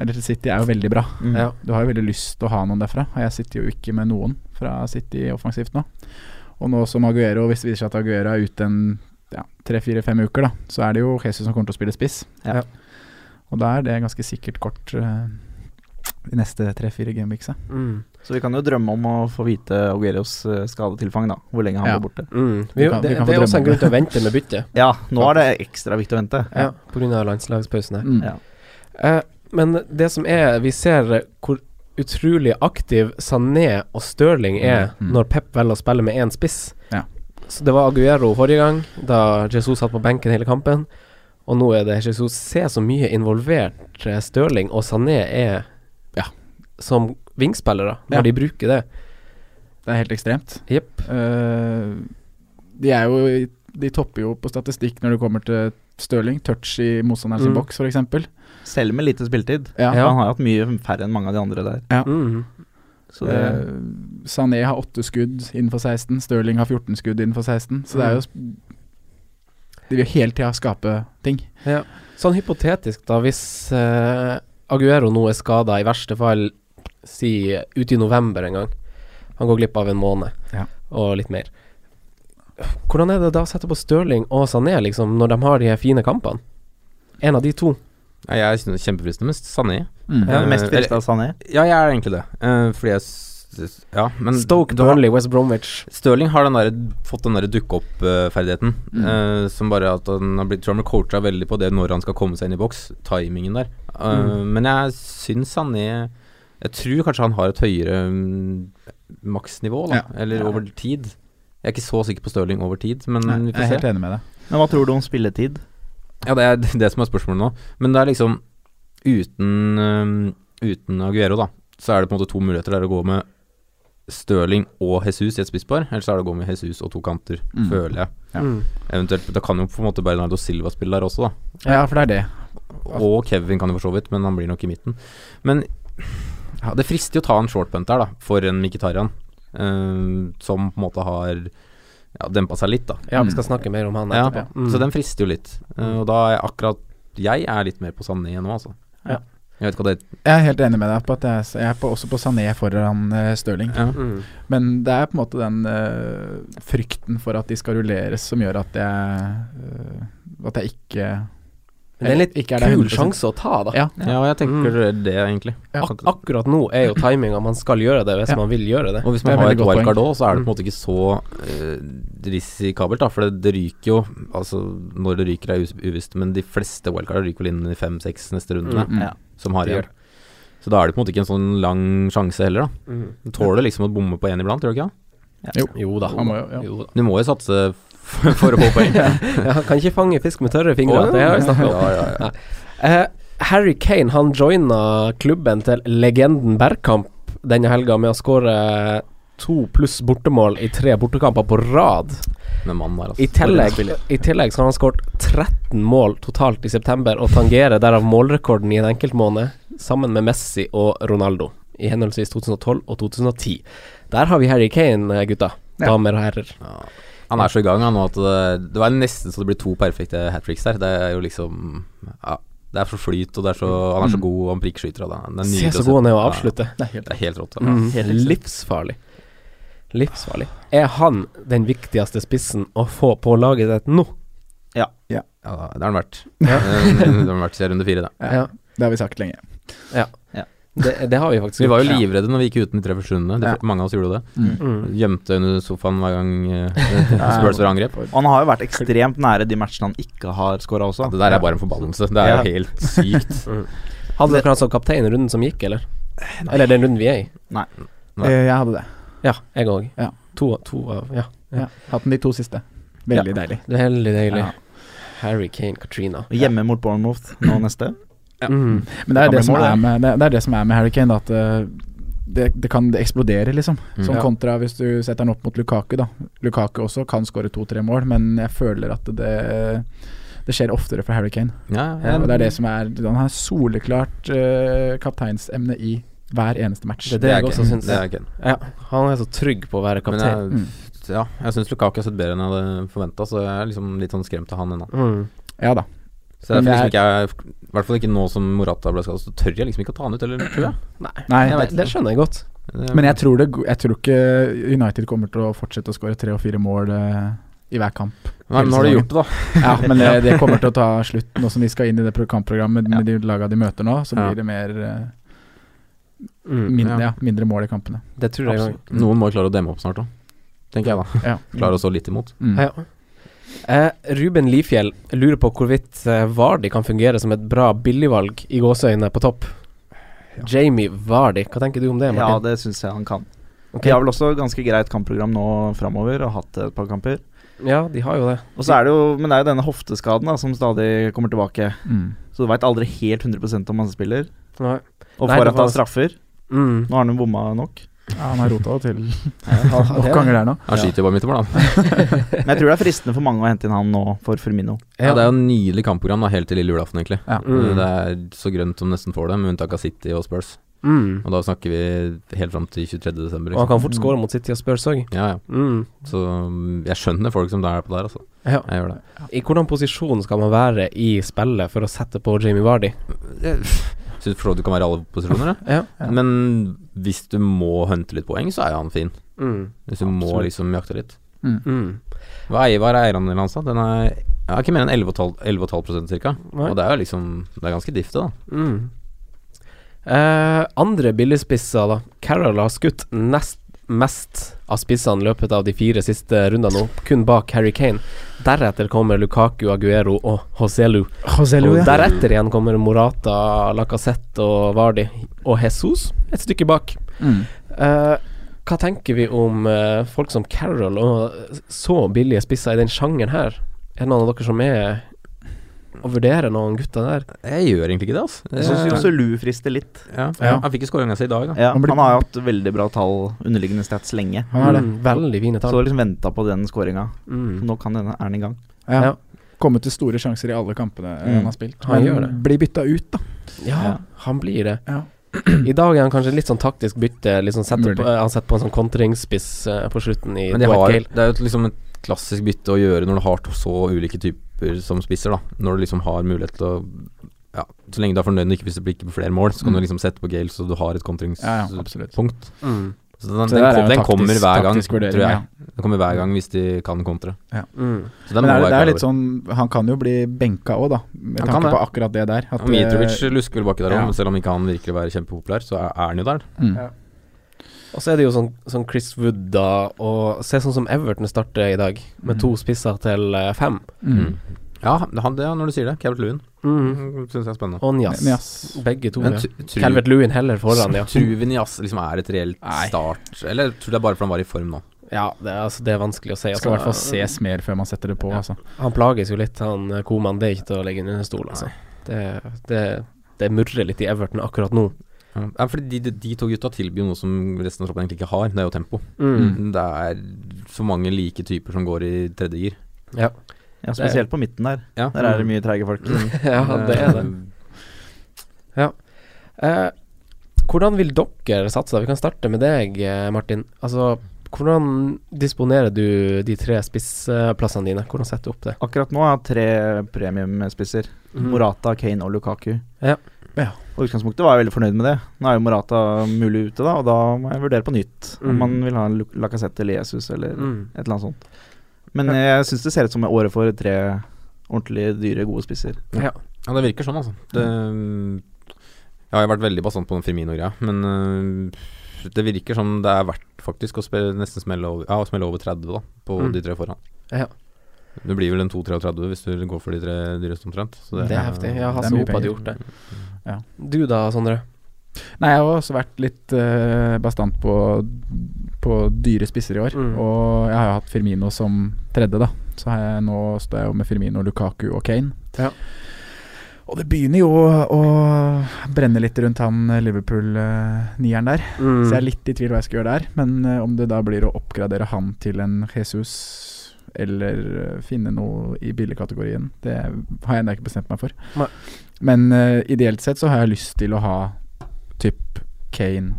Speaker 4: Eller til City er jo veldig bra.
Speaker 3: Mm.
Speaker 2: Ja.
Speaker 4: Du har jo veldig lyst til å ha noen derfra, og jeg sitter jo ikke med noen fra City offensivt nå. Og nå som Aguero, hvis det viser seg at Aguero er ute en ja, tre-fire-fem uker, da, så er det jo Jesus som kommer til å spille spiss.
Speaker 3: Ja.
Speaker 4: Og da er det ganske sikkert kort eh, de neste tre-fire gameweeksa.
Speaker 2: Mm.
Speaker 3: Så vi kan jo drømme om å få vite Agueros eh, skadetilfang, da. Hvor lenge han
Speaker 4: Ja.
Speaker 3: blir borte.
Speaker 2: Mm. Vi,
Speaker 4: Vi kan- vi
Speaker 2: det,
Speaker 4: kan få
Speaker 2: det er også
Speaker 4: drømme om
Speaker 2: en grunn til å vente med byttet,
Speaker 3: Ja, nå er det ekstra viktig å vente.
Speaker 2: ja. pga. landslagspausen her.
Speaker 4: Mm.
Speaker 3: Ja.
Speaker 2: Eh, men det som er Vi ser eh, hvor utrolig aktiv Sané og Stirling er
Speaker 4: Mm.
Speaker 2: når Pep velger å spille med én spiss.
Speaker 4: Ja.
Speaker 2: Så det var Aguero forrige gang, da Jesus satt på benken hele kampen. Og nå er det Jesus ser så mye involvert eh, Stirling, og Sané er
Speaker 4: Ja.
Speaker 2: som vingspillere, når
Speaker 4: Ja.
Speaker 2: de bruker det.
Speaker 4: Det er helt ekstremt.
Speaker 2: Jepp.
Speaker 4: Eh, de er jo i- De topper jo på statistikk når det kommer til Stirling. Touch i motstanderen sin
Speaker 2: Mm.
Speaker 4: boks, f.eks.
Speaker 3: Selv med lite spilletid.
Speaker 4: Ja.
Speaker 2: Ja.
Speaker 3: Han har hatt mye færre enn mange av de andre der.
Speaker 2: Mm.
Speaker 3: Så det,
Speaker 4: Eh, Sané har åtte skudd innenfor 16. Stirling har 14 skudd innenfor 16. Så det
Speaker 2: Mm.
Speaker 4: er jo sp- De vil hele tida skape ting.
Speaker 2: Sånn hypotetisk, da, hvis eh, Aguero nå er skada, i verste fall si ut i november en gang Han går glipp av en måned
Speaker 4: Ja.
Speaker 2: og litt mer. Hvordan er det da å sette på Stirling og Sané, liksom, når de har de her fine kampene? En av de to.
Speaker 5: Nei, jeg synes det er kjempefristende med Sané.
Speaker 3: jeg er mest
Speaker 5: eh,
Speaker 3: frista av Sané.
Speaker 5: Ja, jeg er egentlig det. Eh, fordi jeg s- Ja, men
Speaker 2: Stoke,
Speaker 5: Mm, da-
Speaker 2: Burnley, West Bromwich.
Speaker 5: Stirling har den der, fått den der dukke-opp-ferdigheten. eh,
Speaker 4: Mm.
Speaker 5: som bare at han har blitt Trummer coacha veldig på det når han skal komme seg inn i boks. Timingen der. Eh,
Speaker 4: Mm.
Speaker 5: Men jeg syns han er Jeg tror kanskje han har et høyere mm, maksnivå, da.
Speaker 4: Ja.
Speaker 5: Eller
Speaker 4: Ja.
Speaker 5: over tid. Jeg er ikke så sikker på Stirling over tid, men
Speaker 4: Nei,
Speaker 5: vi
Speaker 4: jeg er
Speaker 5: får se.
Speaker 4: helt enig med deg.
Speaker 3: Men hva tror du om spilletid?
Speaker 5: Ja, det er det som er spørsmålet nå. Men det er liksom uten, øhm, uten Aguero, da, så er det på en måte to muligheter. Det er å gå med Stirling og Jesus i et spisspar, eller så er det å gå med Jesus og to kanter,
Speaker 4: Mm.
Speaker 5: føler jeg.
Speaker 4: Ja.
Speaker 2: Mm.
Speaker 5: Eventuelt, Da kan jo på en måte Bernardo Silva spille der også, da.
Speaker 4: Ja, for det er det.
Speaker 5: Og Kevin kan jo for så vidt, men han blir nok i midten. Men ja, det frister jo å ta en shortpunt der, da, for en Mkhitarian, øhm, som på en måte har ja, dempa seg litt, da.
Speaker 2: Ja, vi
Speaker 4: Mm.
Speaker 2: skal snakke mer om han
Speaker 5: Ja,
Speaker 2: etterpå.
Speaker 5: Så
Speaker 2: Mm.
Speaker 5: den frister jo litt. Eh, og da er jeg akkurat Jeg er litt mer på Sané nå, altså.
Speaker 2: Ja.
Speaker 5: Jeg vet ikke hva det
Speaker 4: Jeg er helt enig med deg på at jeg, jeg er på, også på Sané foran eh, Stirling.
Speaker 5: ja.
Speaker 2: Mm.
Speaker 4: Men det er på en måte den eh, frykten for at de skal rulleres som gjør at jeg eh, At jeg ikke
Speaker 2: Men det Eh, er en litt
Speaker 4: ikke der
Speaker 2: kul
Speaker 4: 100%.
Speaker 2: sjanse å ta, da.
Speaker 4: Ja.
Speaker 5: ja, og jeg tenker det, egentlig.
Speaker 4: Ja.
Speaker 2: Ak akkurat nå er jo timinga man skal gjøre det, hvis
Speaker 4: Ja.
Speaker 2: man vil gjøre det.
Speaker 5: Og hvis
Speaker 4: Det
Speaker 5: man
Speaker 4: er
Speaker 5: har
Speaker 4: veldig
Speaker 5: et
Speaker 4: godt Mm.
Speaker 5: wildcard òg, så er det på en måte ikke så eh, risikabelt, da. For det, det ryker jo Altså, når det ryker er us- uvisst, men de fleste wildcard ryker vel inn i fem-seks neste runde,
Speaker 4: Mm.
Speaker 3: Ja.
Speaker 5: som har
Speaker 2: Det gjør
Speaker 5: igjen. Så da er det på en måte ikke en sånn lang sjanse heller, da.
Speaker 2: Mm.
Speaker 5: Du tåler liksom å bomme på én iblant, tror du ikke? det?
Speaker 2: Jo da.
Speaker 4: Han må jo, ja.
Speaker 2: Jo da.
Speaker 5: Du må jo satse f- for å få poeng.
Speaker 2: Ja, han kan ikke fange fisk med tørre fingre.
Speaker 5: Å, ja.
Speaker 2: det har vi snakket om.
Speaker 5: Ja, ja, ja.
Speaker 2: Eh, Harry Kane han joina klubben til legenden Bergkamp denne helga med å skåre to pluss bortemål i tre bortekamper på rad.
Speaker 5: Men mannen der, altså.
Speaker 2: I tillegg, i tillegg så har han skåret 13 mål totalt i september og tangerer derav målrekorden i en enkeltmåned, sammen med Messi og Ronaldo, i henholdsvis 2012 og 2010. Der har vi Harry Kane, eh, gutta. Damer og herrer.
Speaker 5: Han er så i gang han, nå at eh, det, det var nesten så det blir to perfekte hat tricks der. Det er jo liksom Ja, det er så flyt, og det er så, han er så
Speaker 4: Mm.
Speaker 5: god, og han prikkeskyter, og det er- det er
Speaker 2: Se
Speaker 5: nydelig
Speaker 2: så
Speaker 5: å se.
Speaker 2: god han er å
Speaker 5: Ja,
Speaker 2: avslutte.
Speaker 4: Det er helt
Speaker 5: Det er helt rått. altså. da.
Speaker 2: Mm.
Speaker 3: helt ekstremt.
Speaker 2: Livsfarlig. Livsfarlig. Er han den viktigste spissen å få på laget ditt nå?
Speaker 5: Ja, da, det har han vært. Eh, det har han vært siden runde fire, da.
Speaker 2: Ja.
Speaker 4: Det har vi sagt lenge.
Speaker 2: Det, det har vi faktisk
Speaker 5: Vi var jo
Speaker 2: gjort.
Speaker 5: livredde når vi gikk uten de tre første rundene. Det- Mange av oss gjorde det.
Speaker 2: Mm.
Speaker 5: Gjemte under sofaen hver gang eh, Spurs var i angrep.
Speaker 3: Og han har jo vært ekstremt nære de matchene han ikke har scora også.
Speaker 5: Det der er bare en forbannelse. Det er
Speaker 3: Ja.
Speaker 5: jo helt sykt.
Speaker 2: Mm. Hadde dere han som kaptein i runden som gikk, eller? Eller den runden vi er i?
Speaker 5: Nei.
Speaker 4: Eh, jeg hadde det.
Speaker 2: Ja, jeg òg.
Speaker 4: Ja.
Speaker 2: To, to av Ja.
Speaker 4: Ja. Hatt den de to siste. Veldig deilig.
Speaker 2: Det er Veldig deilig.
Speaker 4: Ja.
Speaker 2: Harry Kane, Katrina.
Speaker 3: Og Hjemme mot Bournemouth nå neste.
Speaker 2: Mm.
Speaker 4: Men det
Speaker 3: Det
Speaker 4: er
Speaker 3: kan
Speaker 4: det,
Speaker 3: bli
Speaker 4: som,
Speaker 3: mål,
Speaker 4: er
Speaker 3: det.
Speaker 4: med, det, det er det som er med Harry Kane, da, at eh, det, det kan eksplodere, liksom.
Speaker 5: Mm.
Speaker 4: Som
Speaker 2: Ja.
Speaker 4: kontra hvis du setter han opp mot Lukaku, da. Lukaku også kan skåre to-tre mål, men jeg føler at det, det skjer oftere for Harry Kane.
Speaker 5: Ja, ja,
Speaker 4: Og det er det som er Han har soleklart eh, kapteinsemne i hver eneste match.
Speaker 2: Det er det jeg også syns.
Speaker 5: Det er Kane.
Speaker 2: Ja, han er så trygg på å være
Speaker 5: Men
Speaker 2: kaptein.
Speaker 4: Mm.
Speaker 5: jeg, ja, jeg syns Lukaku har sett bedre enn jeg hadde forventa, så jeg er liksom litt sånn skremt av han ennå.
Speaker 2: Mm.
Speaker 4: Ja da.
Speaker 5: Så jeg
Speaker 4: Men
Speaker 5: liksom
Speaker 4: det
Speaker 5: ikke er, I hvert fall ikke nå som Morata ble skadet, så tør jeg liksom ikke å ta han ut, eller tror jeg.
Speaker 4: Nei,
Speaker 5: Jeg
Speaker 2: Det,
Speaker 5: vet
Speaker 2: det skjønner jeg godt.
Speaker 5: Det-
Speaker 4: men jeg tror, det, jeg tror ikke United kommer til å fortsette å skåre tre og fire mål eh, i hver kamp.
Speaker 5: Nei, men nå har de gjort det, da.
Speaker 4: Ja, men det, det kommer til å ta slutt nå som de skal inn i det pro- kampprogrammet med de laga de møter nå. Så
Speaker 5: Ja.
Speaker 4: blir det mer eh,
Speaker 2: Mm.
Speaker 4: mindre,
Speaker 5: Ja.
Speaker 4: ja, mindre mål i kampene.
Speaker 2: Det tror jeg òg.
Speaker 5: Noen må jo klare å demme opp snart òg, tenker jeg da.
Speaker 4: Ja.
Speaker 5: Klare å stå litt imot.
Speaker 4: Mm.
Speaker 2: Ja. Eh, Ruben Lifjell lurer på hvorvidt eh, Vardi kan fungere som et bra billigvalg i gåseøyne på topp. Jamie Vardy, hva tenker du om det,
Speaker 3: Ja,
Speaker 2: Martin?
Speaker 3: det syns jeg han kan.
Speaker 2: Ok.
Speaker 3: De har vel også ganske greit kampprogram nå framover, og hatt et par kamper.
Speaker 2: Ja, de har jo det.
Speaker 3: Og så er det jo, Men det er jo denne hofteskaden da som stadig kommer tilbake.
Speaker 4: Mm.
Speaker 3: Så du veit aldri helt 100 om han spiller.
Speaker 2: Nei.
Speaker 3: Og
Speaker 2: Nei,
Speaker 3: får
Speaker 2: det
Speaker 3: at han
Speaker 2: var-
Speaker 3: straffer.
Speaker 2: Mm.
Speaker 3: Nå har han jo bomma nok.
Speaker 4: Ja, han har rota til
Speaker 2: Ja,
Speaker 4: nok
Speaker 2: det-
Speaker 4: ganger der nå.
Speaker 5: Han skyter jo bare midt i mål, da.
Speaker 3: Men jeg tror det er fristende for mange å hente inn han nå for Firmino.
Speaker 5: Ja, det er jo en nydelig kampprogram da, helt til lille julaften, egentlig.
Speaker 4: Ja.
Speaker 2: Mm.
Speaker 5: Det er så grønt som nesten får det, med unntak av City og Spurs.
Speaker 2: Mm.
Speaker 5: Og da snakker vi helt fram til 23. desember.
Speaker 2: Og han
Speaker 5: Liksom.
Speaker 2: kan fort score mot City og Spurs òg.
Speaker 5: Ja, ja.
Speaker 2: Mm.
Speaker 5: Så mm, jeg skjønner folk som er på der, altså.
Speaker 2: Ja.
Speaker 5: Jeg gjør det.
Speaker 2: I hvordan posisjon skal man være i spillet for å sette på Jamie Vardy?
Speaker 5: Syns for så vidt du kan være i alle posisjoner, ja.
Speaker 2: Ja.
Speaker 5: Men hvis du må hunte litt poeng, så er jo han fin.
Speaker 2: Mm.
Speaker 5: Hvis du må
Speaker 2: Absolutt.
Speaker 5: liksom jakte litt.
Speaker 2: Mm.
Speaker 5: Hva er, hva er eierandelen hans, da? Den er ja, ikke mer enn 11,5 11,5 cirka.
Speaker 2: Nei.
Speaker 5: Og det er jo liksom Det er ganske difte, da.
Speaker 2: Mm. Eh, andre billigspisser, da. Carroll har skutt nest mest av spissene i løpet av de fire siste rundene nå, kun bak Harry Kane. Deretter kommer Lukaku, Aguero og Hoselu. Og deretter igjen kommer Morata, Lacassette og Vardi. Og Jesus et stykke bak.
Speaker 4: Mm.
Speaker 2: Eh, hva tenker vi om eh, folk som Carroll og så billige spisser i den sjangeren her? Er det noen av dere som er å vurdere noen gutter der?
Speaker 5: Jeg gjør egentlig ikke det, altså.
Speaker 3: Jeg syns jo
Speaker 5: Jeg-
Speaker 3: også Lu frister litt.
Speaker 5: ja.
Speaker 4: Ja.
Speaker 5: Han fikk jo skåringa si i dag, da.
Speaker 3: Ja,
Speaker 4: Han
Speaker 3: han
Speaker 4: blir-
Speaker 3: har jo hatt veldig bra tall, underliggende stats, lenge.
Speaker 4: Han er det.
Speaker 2: Mm, veldig fine
Speaker 3: Så
Speaker 2: tall.
Speaker 3: du har liksom venta på den skåringa.
Speaker 2: Mm.
Speaker 3: Nå kan denne er den i gang.
Speaker 4: Ja.
Speaker 2: Ja.
Speaker 4: Kommet til store sjanser i alle kampene eh, han
Speaker 5: Mm.
Speaker 4: har spilt.
Speaker 2: Han gjør det.
Speaker 4: blir bytta ut, da.
Speaker 2: Ja,
Speaker 3: Ja.
Speaker 2: han blir det.
Speaker 4: Ja.
Speaker 2: I dag er han kanskje litt sånn taktisk bytte. Litt sånn setter
Speaker 4: Mulig.
Speaker 2: på, han setter på en sånn kontringsspiss eh, på slutten i
Speaker 5: Men de
Speaker 2: Dwight
Speaker 5: har,
Speaker 2: Gale.
Speaker 5: det er jo liksom et klassisk bytte å gjøre når du har to så ulike typer som spisser, da. Når du liksom har mulighet til å Ja, så lenge du er fornøyd og ikke hvis det blir ikke på flere mål, så kan
Speaker 4: Mm.
Speaker 5: du liksom sette på Gale så du har et
Speaker 4: Ja, ja,
Speaker 5: kontringspunkt.
Speaker 4: absolutt.
Speaker 2: Mm.
Speaker 5: Så den, den,
Speaker 4: Så det der er
Speaker 5: kom,
Speaker 4: jo
Speaker 5: den
Speaker 4: taktisk-
Speaker 5: kommer hver gang,
Speaker 4: taktisk vurdering,
Speaker 5: tror jeg.
Speaker 4: ja.
Speaker 5: Den kommer hver gang hvis de kan kontre.
Speaker 2: Mm.
Speaker 5: Så den må
Speaker 4: Men det er,
Speaker 5: være
Speaker 4: det er
Speaker 5: klar
Speaker 4: litt
Speaker 5: over.
Speaker 4: sånn Han kan jo bli benka òg, da. Med
Speaker 5: Han kan
Speaker 4: tanke
Speaker 5: det.
Speaker 4: på akkurat det der. at,
Speaker 5: Og Mitrovic
Speaker 4: eh,
Speaker 5: lusker vel baki der òg,
Speaker 4: ja.
Speaker 5: men selv om ikke han virker å være kjempepopulær, så er, er han jo der.
Speaker 4: mm.
Speaker 2: Og så er det jo sånn, sånn Chris Wood, da, og se sånn som Everton starter i dag, med
Speaker 4: Mm.
Speaker 2: to spisser til eh, fem.
Speaker 4: Mm.
Speaker 5: Ja, det, han, det er når du sier det. Calvert Lewin
Speaker 2: Mm.
Speaker 5: syns jeg er spennende.
Speaker 2: Og Njas.
Speaker 4: Men Jazz
Speaker 2: Begge to.
Speaker 5: Men
Speaker 2: Ja.
Speaker 5: tr- tru-
Speaker 2: Calvert Lewin heller foran, ja.
Speaker 5: Tror vi Nias liksom er et reelt
Speaker 4: Nei.
Speaker 5: start, eller tror du det er bare fordi han var i form nå?
Speaker 2: ja det, er- altså, det er vanskelig å si.
Speaker 4: Skal i hvert fall
Speaker 2: Altså,
Speaker 4: ses mer før man setter det på, altså.
Speaker 2: Han plages jo litt, han eh, Koman. Det er ikke til å legge under en stol, altså. Det, det, det murrer litt i Everton akkurat nå.
Speaker 5: Ja, ja, fordi de, de, de to gutta tilbyr jo noe som resten av troppen egentlig ikke har, det er jo tempo.
Speaker 2: Mm.
Speaker 5: Det er så mange like typer som går i tredje gir.
Speaker 3: Ja, Spesielt på midten der.
Speaker 5: Ja.
Speaker 3: Der er det mye treige folk.
Speaker 2: ja, det er det. Eh, hvordan vil dere satse? Vi kan starte med deg, eh, Martin. Altså, hvordan disponerer du de tre spissplassene dine? Hvordan setter du opp det?
Speaker 3: Akkurat nå har jeg tre premiumspisser. Morata, Kane og Lukaku.
Speaker 2: Mm. Ja.
Speaker 4: Ja.
Speaker 3: Og utgangspunktet var jeg veldig fornøyd med det. Nå er jo Morata mulig ute, da, og da må jeg vurdere på nytt om
Speaker 2: Mm.
Speaker 3: man vil ha en Lu- Lacazette eller Jesus eller
Speaker 2: Mm.
Speaker 3: et eller annet sånt. Men jeg syns det ser ut som året for tre ordentlig dyre, gode spisser.
Speaker 5: Ja, det virker sånn, altså. Det, ja, jeg har vært veldig bastant på den Firmino-greia, men øh, det virker som det er verdt faktisk å spe, nesten smelle over, ja, å smelle over 30 da, på
Speaker 2: Mm.
Speaker 5: de tre foran.
Speaker 2: Ja.
Speaker 5: Det blir vel en 2-33 hvis du går for de tre dyreste omtrent. så
Speaker 2: Det er heftig. Ja,
Speaker 4: det
Speaker 2: Hasse
Speaker 4: er mye
Speaker 2: Hope hadde
Speaker 4: penger.
Speaker 2: gjort det.
Speaker 4: Ja.
Speaker 2: Du da, Sondre?
Speaker 4: Nei, jeg har også vært litt eh, bastant på, på dyre spisser i år.
Speaker 2: Mm.
Speaker 4: Og jeg har jo hatt Firmino som tredje, da. Så har jeg, nå står jeg jo med Firmino, Lukaku og Kane.
Speaker 2: Ja.
Speaker 4: Og det begynner jo å, å brenne litt rundt han Liverpool-nieren der. Mm.
Speaker 2: Mm.
Speaker 4: Så jeg er litt i tvil hva jeg skal gjøre der. Men eh, om det da blir å oppgradere han til en Jesus eller eh, finne noe i billigkategorien, det har jeg ennå ikke bestemt meg for.
Speaker 2: Nei.
Speaker 4: Men eh, ideelt sett så har jeg lyst til å ha typ Kane,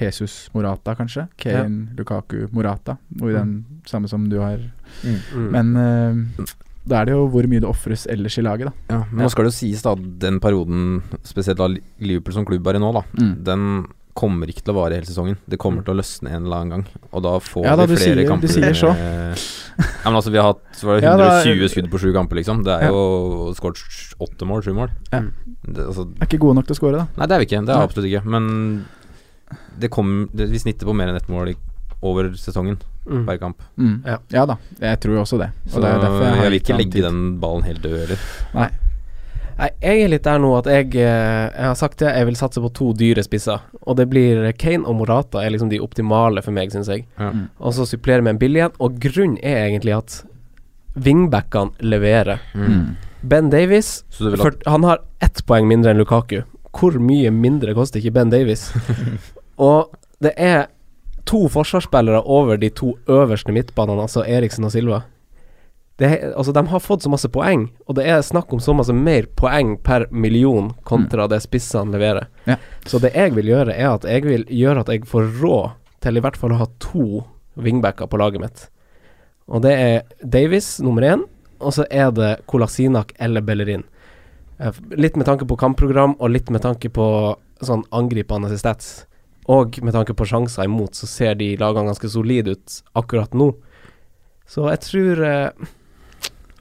Speaker 4: Jesus, Morata kanskje. Kane, Lukaku, Morata. Noe i den samme som du har.
Speaker 2: Mm.
Speaker 4: Men eh, da er det jo hvor mye det ofres ellers i laget, da.
Speaker 5: Ja, men nå skal det jo sies da den perioden, spesielt da Liverpool som klubb er i nå, da,
Speaker 4: Mm.
Speaker 5: den kommer ikke til å vare hele sesongen. Det kommer til å løsne en eller annen gang, og da får
Speaker 4: Ja da,
Speaker 5: vi
Speaker 4: du
Speaker 5: flere
Speaker 4: sier- du
Speaker 5: kamper eh,
Speaker 4: sier så.
Speaker 5: Ja, men altså, vi har hatt så var det
Speaker 4: Ja, da-
Speaker 5: 120 skudd på sju kamper, liksom. Det er
Speaker 4: Ja.
Speaker 5: jo skåret åtte mål, sju mål.
Speaker 4: Ja.
Speaker 5: Det, altså,
Speaker 4: Er ikke gode nok til å score, da.
Speaker 5: nei, det er vi ikke. Det er
Speaker 4: Nei.
Speaker 5: absolutt ikke. Men det kom, det, vi snitter på mer enn ett mål i, over sesongen
Speaker 2: Mm.
Speaker 5: hver kamp.
Speaker 4: Mm.
Speaker 2: Ja.
Speaker 4: Ja. da, jeg tror jo også det. Og
Speaker 5: Så
Speaker 4: det er derfor jeg, har
Speaker 5: vil
Speaker 4: litt
Speaker 5: ikke
Speaker 4: annen
Speaker 5: legge
Speaker 4: tid.
Speaker 5: den ballen helt død heller.
Speaker 4: Nei.
Speaker 2: Nei, jeg er litt der nå at jeg, eh, jeg har sagt det, jeg vil satse på to dyre spisser. Og det blir Kane og Morata er liksom de optimale for meg, syns jeg.
Speaker 5: Mm.
Speaker 2: Og så supplere med en billig en. Og grunnen er egentlig at wingbackene leverer.
Speaker 5: Mm.
Speaker 2: Ben Davies
Speaker 5: Så du vil
Speaker 2: for,
Speaker 5: at-
Speaker 2: Han har ett poeng mindre enn Lukaku. Hvor mye mindre koster ikke Ben Davies? og det er to forsvarsspillere over de to øverste midtbanene, altså Eriksen og Silva. Det, er- altså, de har fått så masse poeng, og det er snakk om så masse mer poeng per million kontra
Speaker 5: Mm.
Speaker 2: det spissene leverer.
Speaker 4: Mm. Ja.
Speaker 2: Så det jeg vil gjøre, er at jeg vil gjøre at jeg får råd til i hvert fall å ha to wingbacker på laget mitt. Og det er Davies nummer én, og så er det Kolasinak eller Bellerin. Eh, Litt med tanke på kampprogram, og litt med tanke på sånn angripende stats. Og med tanke på sjanser imot, så ser de lagene ganske solide ut akkurat nå. Så jeg tror eh,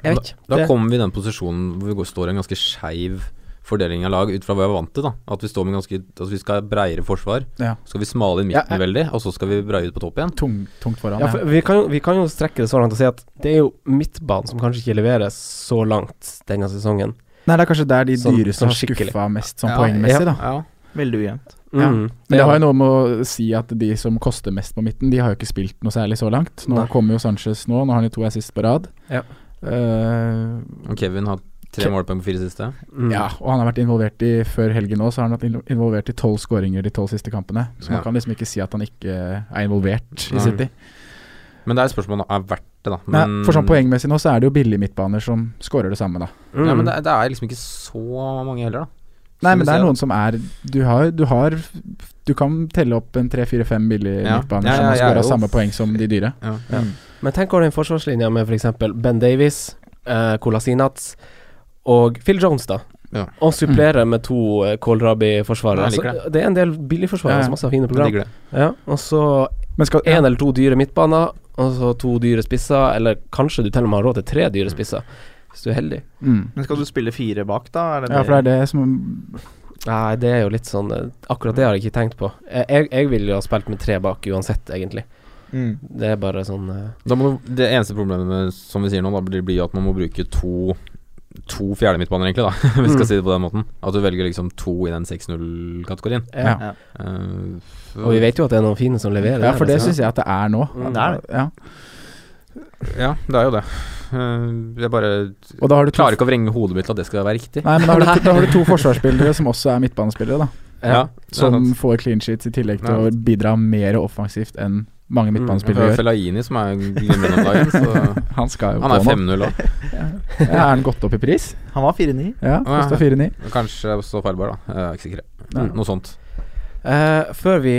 Speaker 2: Jeg vet ikke.
Speaker 5: Da, da
Speaker 2: Det-
Speaker 5: kommer vi i den posisjonen hvor vi går, står i en ganske skeiv fordeling av lag ut fra hva vi er vant til. da At vi står med ganske Altså vi skal ha breiere forsvar,
Speaker 4: Ja.
Speaker 5: så skal vi smale inn midten
Speaker 2: Ja, jeg-
Speaker 5: veldig, og så skal vi breie ut på topp igjen.
Speaker 4: Tung, tungt foran.
Speaker 2: ja, for vi, kan, jo- vi kan jo strekke det så langt og si at det er jo midtbanen som kanskje ikke leveres så langt denne sesongen.
Speaker 4: Nei, det er kanskje der de
Speaker 2: Sånn-
Speaker 4: dyreste
Speaker 2: sånn
Speaker 4: har
Speaker 2: skikkelig.
Speaker 4: skuffa mest, sånn
Speaker 5: Ja,
Speaker 4: poengmessig, da.
Speaker 5: Ja.
Speaker 3: Veldig ujevnt.
Speaker 4: Ja.
Speaker 2: Mm,
Speaker 4: Men det
Speaker 2: er-
Speaker 4: har jo noe med å si at de som koster mest på midten, de har jo ikke spilt noe særlig så langt. Nå
Speaker 2: Nei.
Speaker 4: kommer jo Sanchez nå, nå har han jo to assist på rad.
Speaker 2: Ja.
Speaker 4: Eh,
Speaker 5: Og Kevin har tre
Speaker 4: Ke-
Speaker 5: målpoeng på fire siste.
Speaker 2: mm.
Speaker 4: ja, og han har vært involvert i Før helgen nå, så har han vært inno- involvert i tolv skåringer de tolv siste kampene. Så man
Speaker 5: Ja.
Speaker 4: kan liksom ikke si at han ikke er involvert i
Speaker 5: Nei.
Speaker 4: City.
Speaker 5: Men det er et spørsmål om det er verdt det, da.
Speaker 4: Nei,
Speaker 5: Men,
Speaker 4: for sånn poengmessig nå, så er det jo billige midtbaner som scorer det samme, da.
Speaker 2: Mm.
Speaker 5: Ja, men det, er- det er liksom ikke så mange heller, da. Så
Speaker 4: Nei,
Speaker 5: vi
Speaker 4: men det er
Speaker 5: ser-
Speaker 4: noen som er Du har Du, har, du kan telle opp en tre-fire-fem billige
Speaker 5: Ja.
Speaker 4: midtbaner
Speaker 5: Ja,
Speaker 4: som
Speaker 5: ja,
Speaker 4: har
Speaker 5: jeg er
Speaker 4: scora
Speaker 5: jo-
Speaker 4: samme poeng som de dyre.
Speaker 5: ja.
Speaker 2: Men tenk over den forsvarslinja med f.eks. Ben Davies, eh, Kolasinac og Phil Jones, da.
Speaker 5: Ja.
Speaker 2: Og supplere med to eh, Kålrabi-forsvarere.
Speaker 5: Jeg liker
Speaker 2: Altså, det er en del billigforsvarere
Speaker 4: Ja, ja.
Speaker 2: som også har fine
Speaker 5: Jeg
Speaker 2: program.
Speaker 5: digger det.
Speaker 2: Ja, og så
Speaker 4: Men skal,
Speaker 2: én eller to dyre midtbaner, og så to dyre spisser, eller kanskje du til og med har råd til tre
Speaker 5: Mm.
Speaker 2: dyre spisser, hvis du er heldig.
Speaker 4: mm.
Speaker 3: Men skal du spille fire bak, da? Er det
Speaker 4: Ja, for det er det som
Speaker 2: Nei, det er jo litt sånn eh, Akkurat det har jeg ikke tenkt på. Eh, Jeg, jeg ville jo ha spilt med tre bak uansett, egentlig.
Speaker 3: Mm.
Speaker 2: Det er bare sånn eh,
Speaker 5: Da må du, det eneste problemet som vi sier nå, da blir blir at man må bruke to To fjerde midtbaner, egentlig, da hvis vi skal
Speaker 2: Mm.
Speaker 5: si det på den måten. At du velger liksom to i den 6-0-kategorien.
Speaker 2: ja.
Speaker 4: Ja.
Speaker 5: Eh,
Speaker 2: Og vi vet jo at det er noen fine som leverer.
Speaker 4: Ja, for det
Speaker 2: liksom.
Speaker 4: syns jeg at det er nå.
Speaker 2: Mm.
Speaker 3: Det er det.
Speaker 4: Ja.
Speaker 5: Ja, det er jo det. Eh, jeg bare
Speaker 4: Og da har du to
Speaker 5: klarer ikke å vrenge hodet mitt til at det skal være riktig.
Speaker 4: Nei, men da har, du, da har du to forsvarsspillere som også er midtbanespillere, da.
Speaker 2: Ja.
Speaker 5: det er
Speaker 4: Som
Speaker 5: sant.
Speaker 4: får clean sheets i tillegg til
Speaker 5: Ja. Mm,
Speaker 4: å bidra mer offensivt enn mange midtbanespillere
Speaker 5: For
Speaker 4: gjør.
Speaker 5: Fellaini som er glimrende om dagen, så
Speaker 4: Han skal jo
Speaker 5: Han er
Speaker 4: på nå.
Speaker 5: 5-0 òg.
Speaker 4: Ja, er han gått opp i pris?
Speaker 3: Han var 4-9.
Speaker 4: Ja,
Speaker 5: ja.
Speaker 4: kosta 4-9.
Speaker 5: Kanskje også feilbar, da. Jeg er ikke sikker.
Speaker 4: Nei.
Speaker 5: Noe sånt.
Speaker 2: Eh, før vi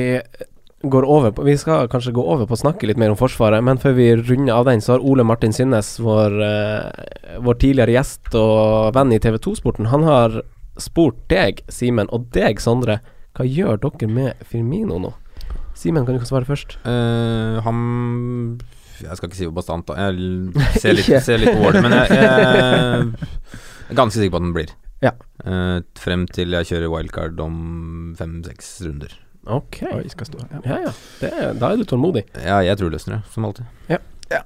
Speaker 2: går over på Vi skal kanskje gå over på å snakke litt mer om Forsvaret, men før vi runder av den, så har Ole Martin Synnes, vår, eh, vår tidligere gjest og venn i TV 2-sporten, han har spurt deg, Simen, og deg, Sondre, hva gjør dere med Firmino nå? Simen, kan du svare først?
Speaker 5: Eh, han Jeg skal ikke si hvor bastant, da. Jeg l- ser litt,
Speaker 2: Ikke.
Speaker 5: ser litt over det, men jeg, jeg er ganske sikker på at den blir.
Speaker 2: Ja.
Speaker 5: Eh, frem til jeg kjører wildcard om fem-seks runder.
Speaker 2: Ok.
Speaker 4: Oi, skal stå. Ja.
Speaker 2: Ja, ja. Det, er- da er du tålmodig.
Speaker 5: Ja, jeg tror løsner det, som alltid.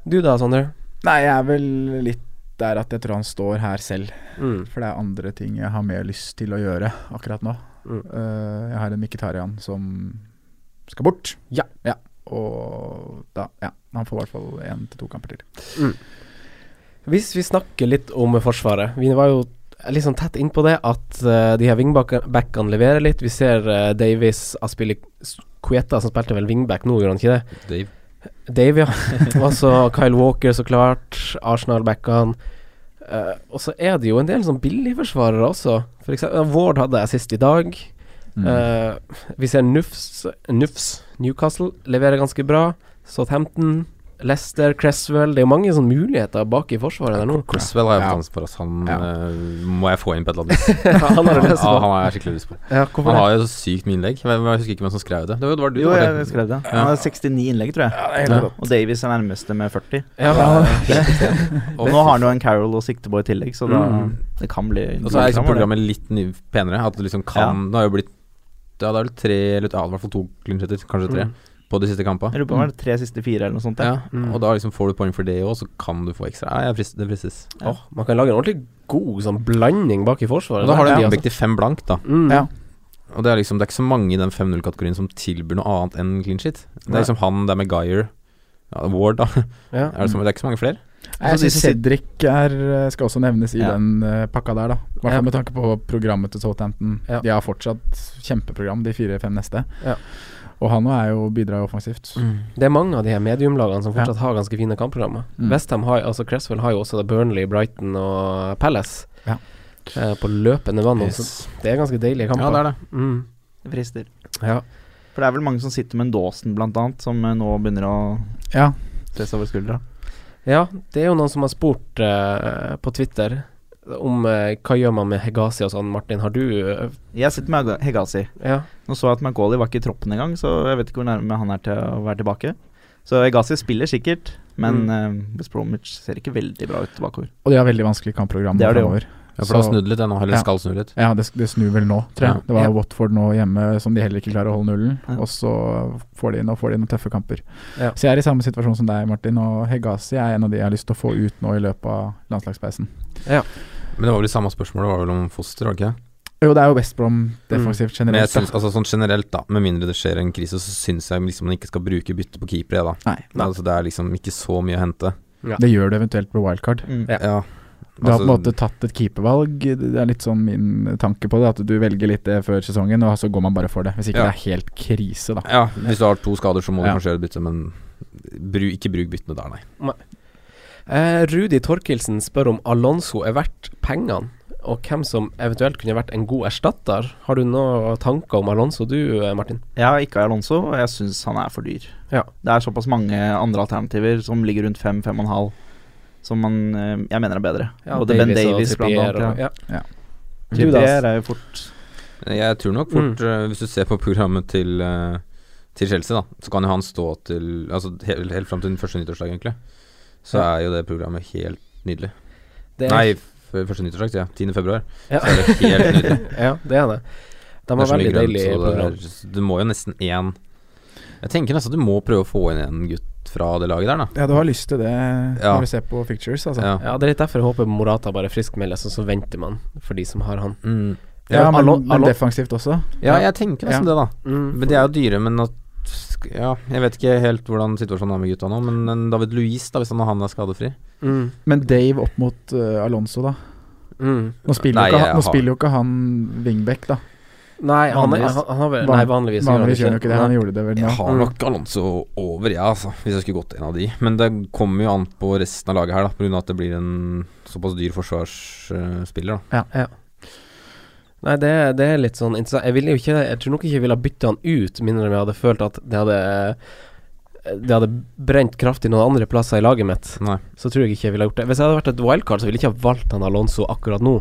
Speaker 2: Du da, Sondre?
Speaker 4: Nei, jeg er vel litt der at jeg tror han står her selv.
Speaker 2: Mm.
Speaker 4: For det er andre ting jeg har mer lyst til å gjøre akkurat nå.
Speaker 2: Mm.
Speaker 4: Eh, jeg har en Mkhitarian som skal bort.
Speaker 2: Ja.
Speaker 4: Og da, ja. Han får i hvert fall én til to kamper til.
Speaker 2: Hvis vi snakker litt om Forsvaret. Vi var jo litt sånn tett innpå det at eh, de her wingbackene leverer litt. Vi ser eh, Davies Aspille Kueta, som spilte vel wingback nå, gjorde han ikke det?
Speaker 5: Dave.
Speaker 2: Dave, ja. Og så Kyle Walker, så klart. Arsenal-backene. Eh, og så er det jo en del sånn billigforsvarere også. For eksempel, Ward hadde jeg sist i dag.
Speaker 4: Mm.
Speaker 2: Eh, vi ser Nufs, Nufs Newcastle leverer ganske bra. Southampton, Leicester, Cresswell Det er jo mange sånne muligheter bak i forsvaret der nå.
Speaker 5: Cresswell har jeg
Speaker 4: Ja.
Speaker 5: fått hans for oss. Han
Speaker 4: Ja.
Speaker 5: eh, må jeg få inn på et eller annet vis.
Speaker 2: Ja, han har du lest
Speaker 5: Ja,
Speaker 2: på.
Speaker 5: han har jeg skikkelig lyst på.
Speaker 2: Ja, hvorfor
Speaker 5: Han
Speaker 2: det?
Speaker 5: har jo så sykt med innlegg. Jeg, jeg husker ikke hvem som skrev det. Det var, det var du,
Speaker 3: Jo,
Speaker 5: Martin.
Speaker 3: jeg skrev det. Han har 69 innlegg, tror jeg.
Speaker 5: helt
Speaker 3: Og Davies er nærmeste med 40.
Speaker 2: Ja,
Speaker 3: Og nå har han jo en Carol og sikte på i tillegg, så da
Speaker 2: Mm.
Speaker 3: det kan bli
Speaker 5: Og så er liksom
Speaker 3: det.
Speaker 5: programmet litt ny, penere. At du liksom kan Det har jo blitt Ja, det er vel tre eller ja, i hvert fall to klinsjetter. Kanskje tre. på de siste kampene.
Speaker 3: Jeg lurer på om det er tre siste fire eller noe sånt.
Speaker 5: Ja,
Speaker 3: Ja.
Speaker 5: Og da liksom får du poeng for det òg, så kan du få ekstra. Nei, jeg frist, det fristes.
Speaker 3: Ja.
Speaker 2: Åh, man kan lage en ordentlig god sånn blanding bak i forsvaret.
Speaker 5: Og da har du
Speaker 2: der,
Speaker 5: en
Speaker 2: altså.
Speaker 5: innbygd til fem blank, da.
Speaker 2: Mm.
Speaker 4: Ja.
Speaker 5: Og det er liksom Det er ikke så mange i den 5-0-kategorien som tilbyr noe annet enn clean shit. Det
Speaker 2: Nei.
Speaker 5: er liksom han, det er Maguire, ja, Ward, da.
Speaker 2: Ja.
Speaker 5: Er det, så, det er ikke så mange flere.
Speaker 4: Nei, Jeg
Speaker 3: Altså,
Speaker 4: synes
Speaker 3: disse-
Speaker 4: Cedric er, eh, skal også nevnes i
Speaker 3: Ja.
Speaker 4: den eh, pakka der, da. I
Speaker 2: Ja.
Speaker 4: hvert fall med tanke på programmet til Southampton.
Speaker 2: Ja.
Speaker 4: De har fortsatt kjempeprogram, de fire-fem neste.
Speaker 2: Ja. Mm.
Speaker 4: Og han nå er jo bidrar jo offensivt.
Speaker 2: Det er mange av de her mediumlagene som fortsatt har ganske fine kampprogrammer.
Speaker 4: Mm.
Speaker 2: Westham har, altså Cresswell har jo også det Burnley, Brighton og Palace
Speaker 4: Ja.
Speaker 2: eh, på løpende vann.
Speaker 5: Yes.
Speaker 2: Så det er ganske deilige kamper.
Speaker 5: Ja, det er det.
Speaker 2: Mm.
Speaker 3: Det frister.
Speaker 2: Ja.
Speaker 3: For det er vel mange som sitter med en Dawson, blant annet, som eh, nå begynner å
Speaker 4: Ja.
Speaker 3: stresse over skuldra.
Speaker 2: Ja, det er jo noen som har spurt eh, på Twitter om eh, hva gjør man med Hegasi og sånn. Martin, har du eh,
Speaker 3: Jeg sitter med Hega- Hegasi.
Speaker 2: Ja.
Speaker 3: Nå så jeg at Macauley var ikke i troppen engang, så jeg vet ikke hvor nærme han er til å være tilbake. Så Hegasi spiller sikkert, men eh, West Bromwich ser ikke veldig bra ut bakover.
Speaker 4: Og de har veldig vanskelig kampprogram
Speaker 3: Det har de jo.
Speaker 4: fremover.
Speaker 5: Ja, for det har
Speaker 4: Så-
Speaker 5: snudd litt ennå, eller
Speaker 4: Ja.
Speaker 5: skal snu litt.
Speaker 4: Ja, det, det snur vel nå, tror jeg.
Speaker 5: Ja.
Speaker 4: Det var
Speaker 2: Ja.
Speaker 4: Watford nå hjemme som de heller ikke klarer å holde nullen.
Speaker 3: Ja.
Speaker 4: Og så får de, nå får de noen tøffe kamper.
Speaker 2: Ja.
Speaker 4: Så jeg er i samme situasjon som deg, Martin. Og Hegasi er en av de jeg har lyst til å få ut nå i løpet av landslagspausen.
Speaker 5: Men det var vel det samme spørsmålet, var vel om foster, var det ikke? det?
Speaker 4: Jo, det er jo West Brom
Speaker 5: Men jeg
Speaker 4: defensivt generelt.
Speaker 5: synes, altså sånn generelt, da, med mindre det skjer en krise, så syns jeg liksom man ikke skal bruke bytte på keepere, jeg, da.
Speaker 4: Nei.
Speaker 5: Altså, det er liksom ikke så mye å hente.
Speaker 2: Ja.
Speaker 4: Det gjør du eventuelt på wildcard.
Speaker 3: Mm.
Speaker 2: Ja.
Speaker 5: Ja. Altså,
Speaker 4: Du har på en måte tatt et keepervalg. Det er litt sånn min tanke på det. At du velger litt det før sesongen, og så går man bare for det. Hvis ikke
Speaker 5: Ja.
Speaker 4: det er helt krise, da.
Speaker 5: Ja, hvis du har to skader, så må du
Speaker 4: Ja.
Speaker 5: kanskje gjøre et bytte, men bru, ikke bruk byttene der, nei.
Speaker 2: Eh, Rudi Torkelsen spør om Alonso er verdt pengene, og hvem som eventuelt kunne vært en god erstatter. Har du noen tanker om Alonso du, eh, Martin?
Speaker 3: Jeg har ikke Alonso, og jeg syns han er for dyr.
Speaker 2: Ja.
Speaker 3: Det er såpass mange andre alternativer som ligger rundt fem, fem og en halv, som man, eh, jeg mener er bedre. Både Ben Davies, blant annet. Ja.
Speaker 2: Ja.
Speaker 4: Ja.
Speaker 2: Du da,
Speaker 3: Trippier er jo fort
Speaker 5: Jeg tror nok
Speaker 2: Mm.
Speaker 5: fort, eh, hvis du ser på programmet til, eh, til Chelsea, da, så kan jo han stå til Altså helt, helt fram til den første nyttårsdag, egentlig. Så
Speaker 2: Ja.
Speaker 5: er jo det programmet helt nydelig.
Speaker 2: det er,
Speaker 5: Nei, f- første nyttårsdag, sier jeg. 10. februar.
Speaker 2: Ja.
Speaker 5: Så er det helt nydelig.
Speaker 2: ja, det er det. De
Speaker 5: Det
Speaker 2: har
Speaker 5: er så mye
Speaker 2: veldig
Speaker 5: grønt,
Speaker 2: deilig
Speaker 5: så det
Speaker 2: program.
Speaker 5: er- Du må jo nesten én Jeg tenker nesten at du må prøve å få inn en gutt fra det laget der, da.
Speaker 4: Ja, du har lyst til det
Speaker 5: Ja.
Speaker 4: når du ser på pictures, altså.
Speaker 5: Ja.
Speaker 2: Ja, Det er litt derfor jeg håper Morata bare friskmeldes, og så venter man for de som har han.
Speaker 5: Mm.
Speaker 4: Ja,
Speaker 2: Ja,
Speaker 4: men,
Speaker 2: Alon-
Speaker 4: men
Speaker 2: Alon-
Speaker 4: defensivt også.
Speaker 5: ja, jeg tenker nesten det, da.
Speaker 2: Mm.
Speaker 5: Men de er jo dyre, men at sk- Ja, jeg vet ikke helt hvordan situasjonen er med gutta nå, men en David Luiz, da, hvis han, han er skadefri
Speaker 2: Mm.
Speaker 4: Men Dave opp mot eh, Alonso, da.
Speaker 2: Mm.
Speaker 4: Nå spiller,
Speaker 5: Nei,
Speaker 4: jo, ikke
Speaker 5: jeg
Speaker 4: han, nå
Speaker 5: har-
Speaker 4: spiller jo ikke han wingback, da.
Speaker 2: Nei, han, er-
Speaker 4: Vanligvis.
Speaker 2: han, han har vel
Speaker 4: Van-
Speaker 2: Nei, vanligvis,
Speaker 4: Vanligvis gjør han jo ikke det. Han gjorde det vel nå.
Speaker 5: Jeg har
Speaker 2: Mm.
Speaker 5: nok Alonso over, jeg, altså, hvis jeg skulle gått en av de. Men det kommer jo an på resten av laget her, da, pga. at det blir en såpass dyr forsvarsspiller, da.
Speaker 2: Nei, det, det er litt sånn interessant. Jeg, ville jo ikke, jeg tror nok ikke jeg ville ha bytta han ut, mindre enn jeg hadde følt at det hadde Det hadde brent kraftig noen andre plasser i laget mitt.
Speaker 5: Nei.
Speaker 2: Så tror jeg ikke jeg ville ha gjort det. Hvis jeg hadde vært et wildcard, så ville jeg ikke ha valgt han Alonso akkurat nå.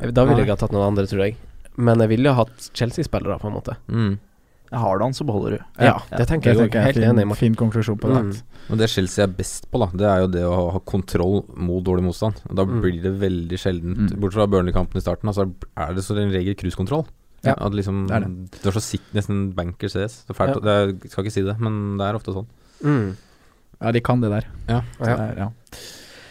Speaker 2: Jeg- Da ville
Speaker 5: Nei.
Speaker 2: jeg ha tatt noen andre, tror jeg. Men jeg ville ha hatt Chelsea-spillere, på en måte.
Speaker 5: Mm.
Speaker 3: Har du han, så beholder du.
Speaker 2: Ja, det tenker jeg,
Speaker 4: Det tenker jeg
Speaker 2: jeg
Speaker 4: er
Speaker 2: helt enig i.
Speaker 4: en
Speaker 2: Martin.
Speaker 4: fin, fin konklusjon på det.
Speaker 2: Mm.
Speaker 5: Og det Chelsea er best på, da, det er jo det å ha- ha kontroll mot dårlig motstand. Og da
Speaker 2: Mm.
Speaker 5: blir det veldig sjeldent
Speaker 4: Mm.
Speaker 5: Bortsett fra Burnley-kampen i starten, da, så er det som regel cruisekontroll.
Speaker 4: Ja,
Speaker 5: At liksom,
Speaker 4: det er
Speaker 5: Du er så sikkert nesten banker CS. Det er fælt,
Speaker 2: Ja.
Speaker 5: å- det er, jeg skal ikke si det, men det er ofte sånn.
Speaker 2: Mm.
Speaker 4: Ja, de kan det der.
Speaker 5: Ja.
Speaker 4: Så det er- ja.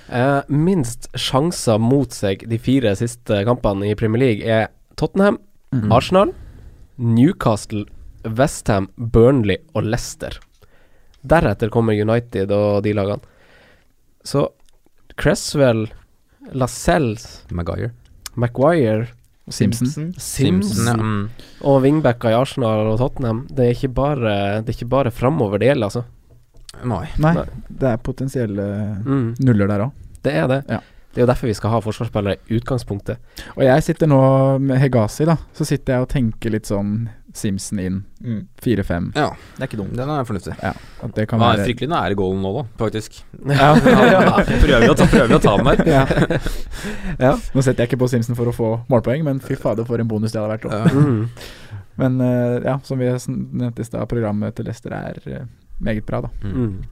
Speaker 2: Eh, minst sjanser mot seg de fire siste kampene i Premier League er Tottenham,
Speaker 4: Mm.
Speaker 2: Arsenal, Newcastle, Westham, Burnley og Leicester. Deretter kommer United og de lagene. Så Cresswell, Lascelles,
Speaker 5: Maguire.
Speaker 2: Maguire,
Speaker 4: Simpson.
Speaker 2: Sims
Speaker 5: Simpson, ja. Mm.
Speaker 2: og wingbacker i Arsenal og Tottenham. Det er ikke bare, det er ikke bare framover det gjelder, altså.
Speaker 5: Nei.
Speaker 4: Nei,
Speaker 2: Nei.
Speaker 4: det er potensielle
Speaker 2: Mm,
Speaker 4: nuller der òg.
Speaker 2: det er det.
Speaker 4: Ja.
Speaker 2: Det er jo derfor vi skal ha forsvarsspillere i utgangspunktet.
Speaker 4: Og jeg sitter nå med Hegasi, da. Så sitter jeg og tenker litt sånn Simpson inn.
Speaker 3: Mm.
Speaker 4: 4-5.
Speaker 5: Ja,
Speaker 3: Det er ikke dumt.
Speaker 5: den er fornuftig.
Speaker 4: At det kan
Speaker 5: Han er
Speaker 4: være
Speaker 5: fryktelig nære goalen nå, da, faktisk.
Speaker 2: Ja,
Speaker 5: prøver, vi å ta, prøver vi å ta den der.
Speaker 4: ja.
Speaker 2: Ja.
Speaker 4: Nå setter jeg ikke på Simpson for å få målpoeng, men fy fader, for en bonus det hadde vært. da.
Speaker 2: Mm.
Speaker 4: Men eh, ja, som vi sn- nevnte i stad, programmet til Leicester er eh, meget bra, da.
Speaker 2: Mm.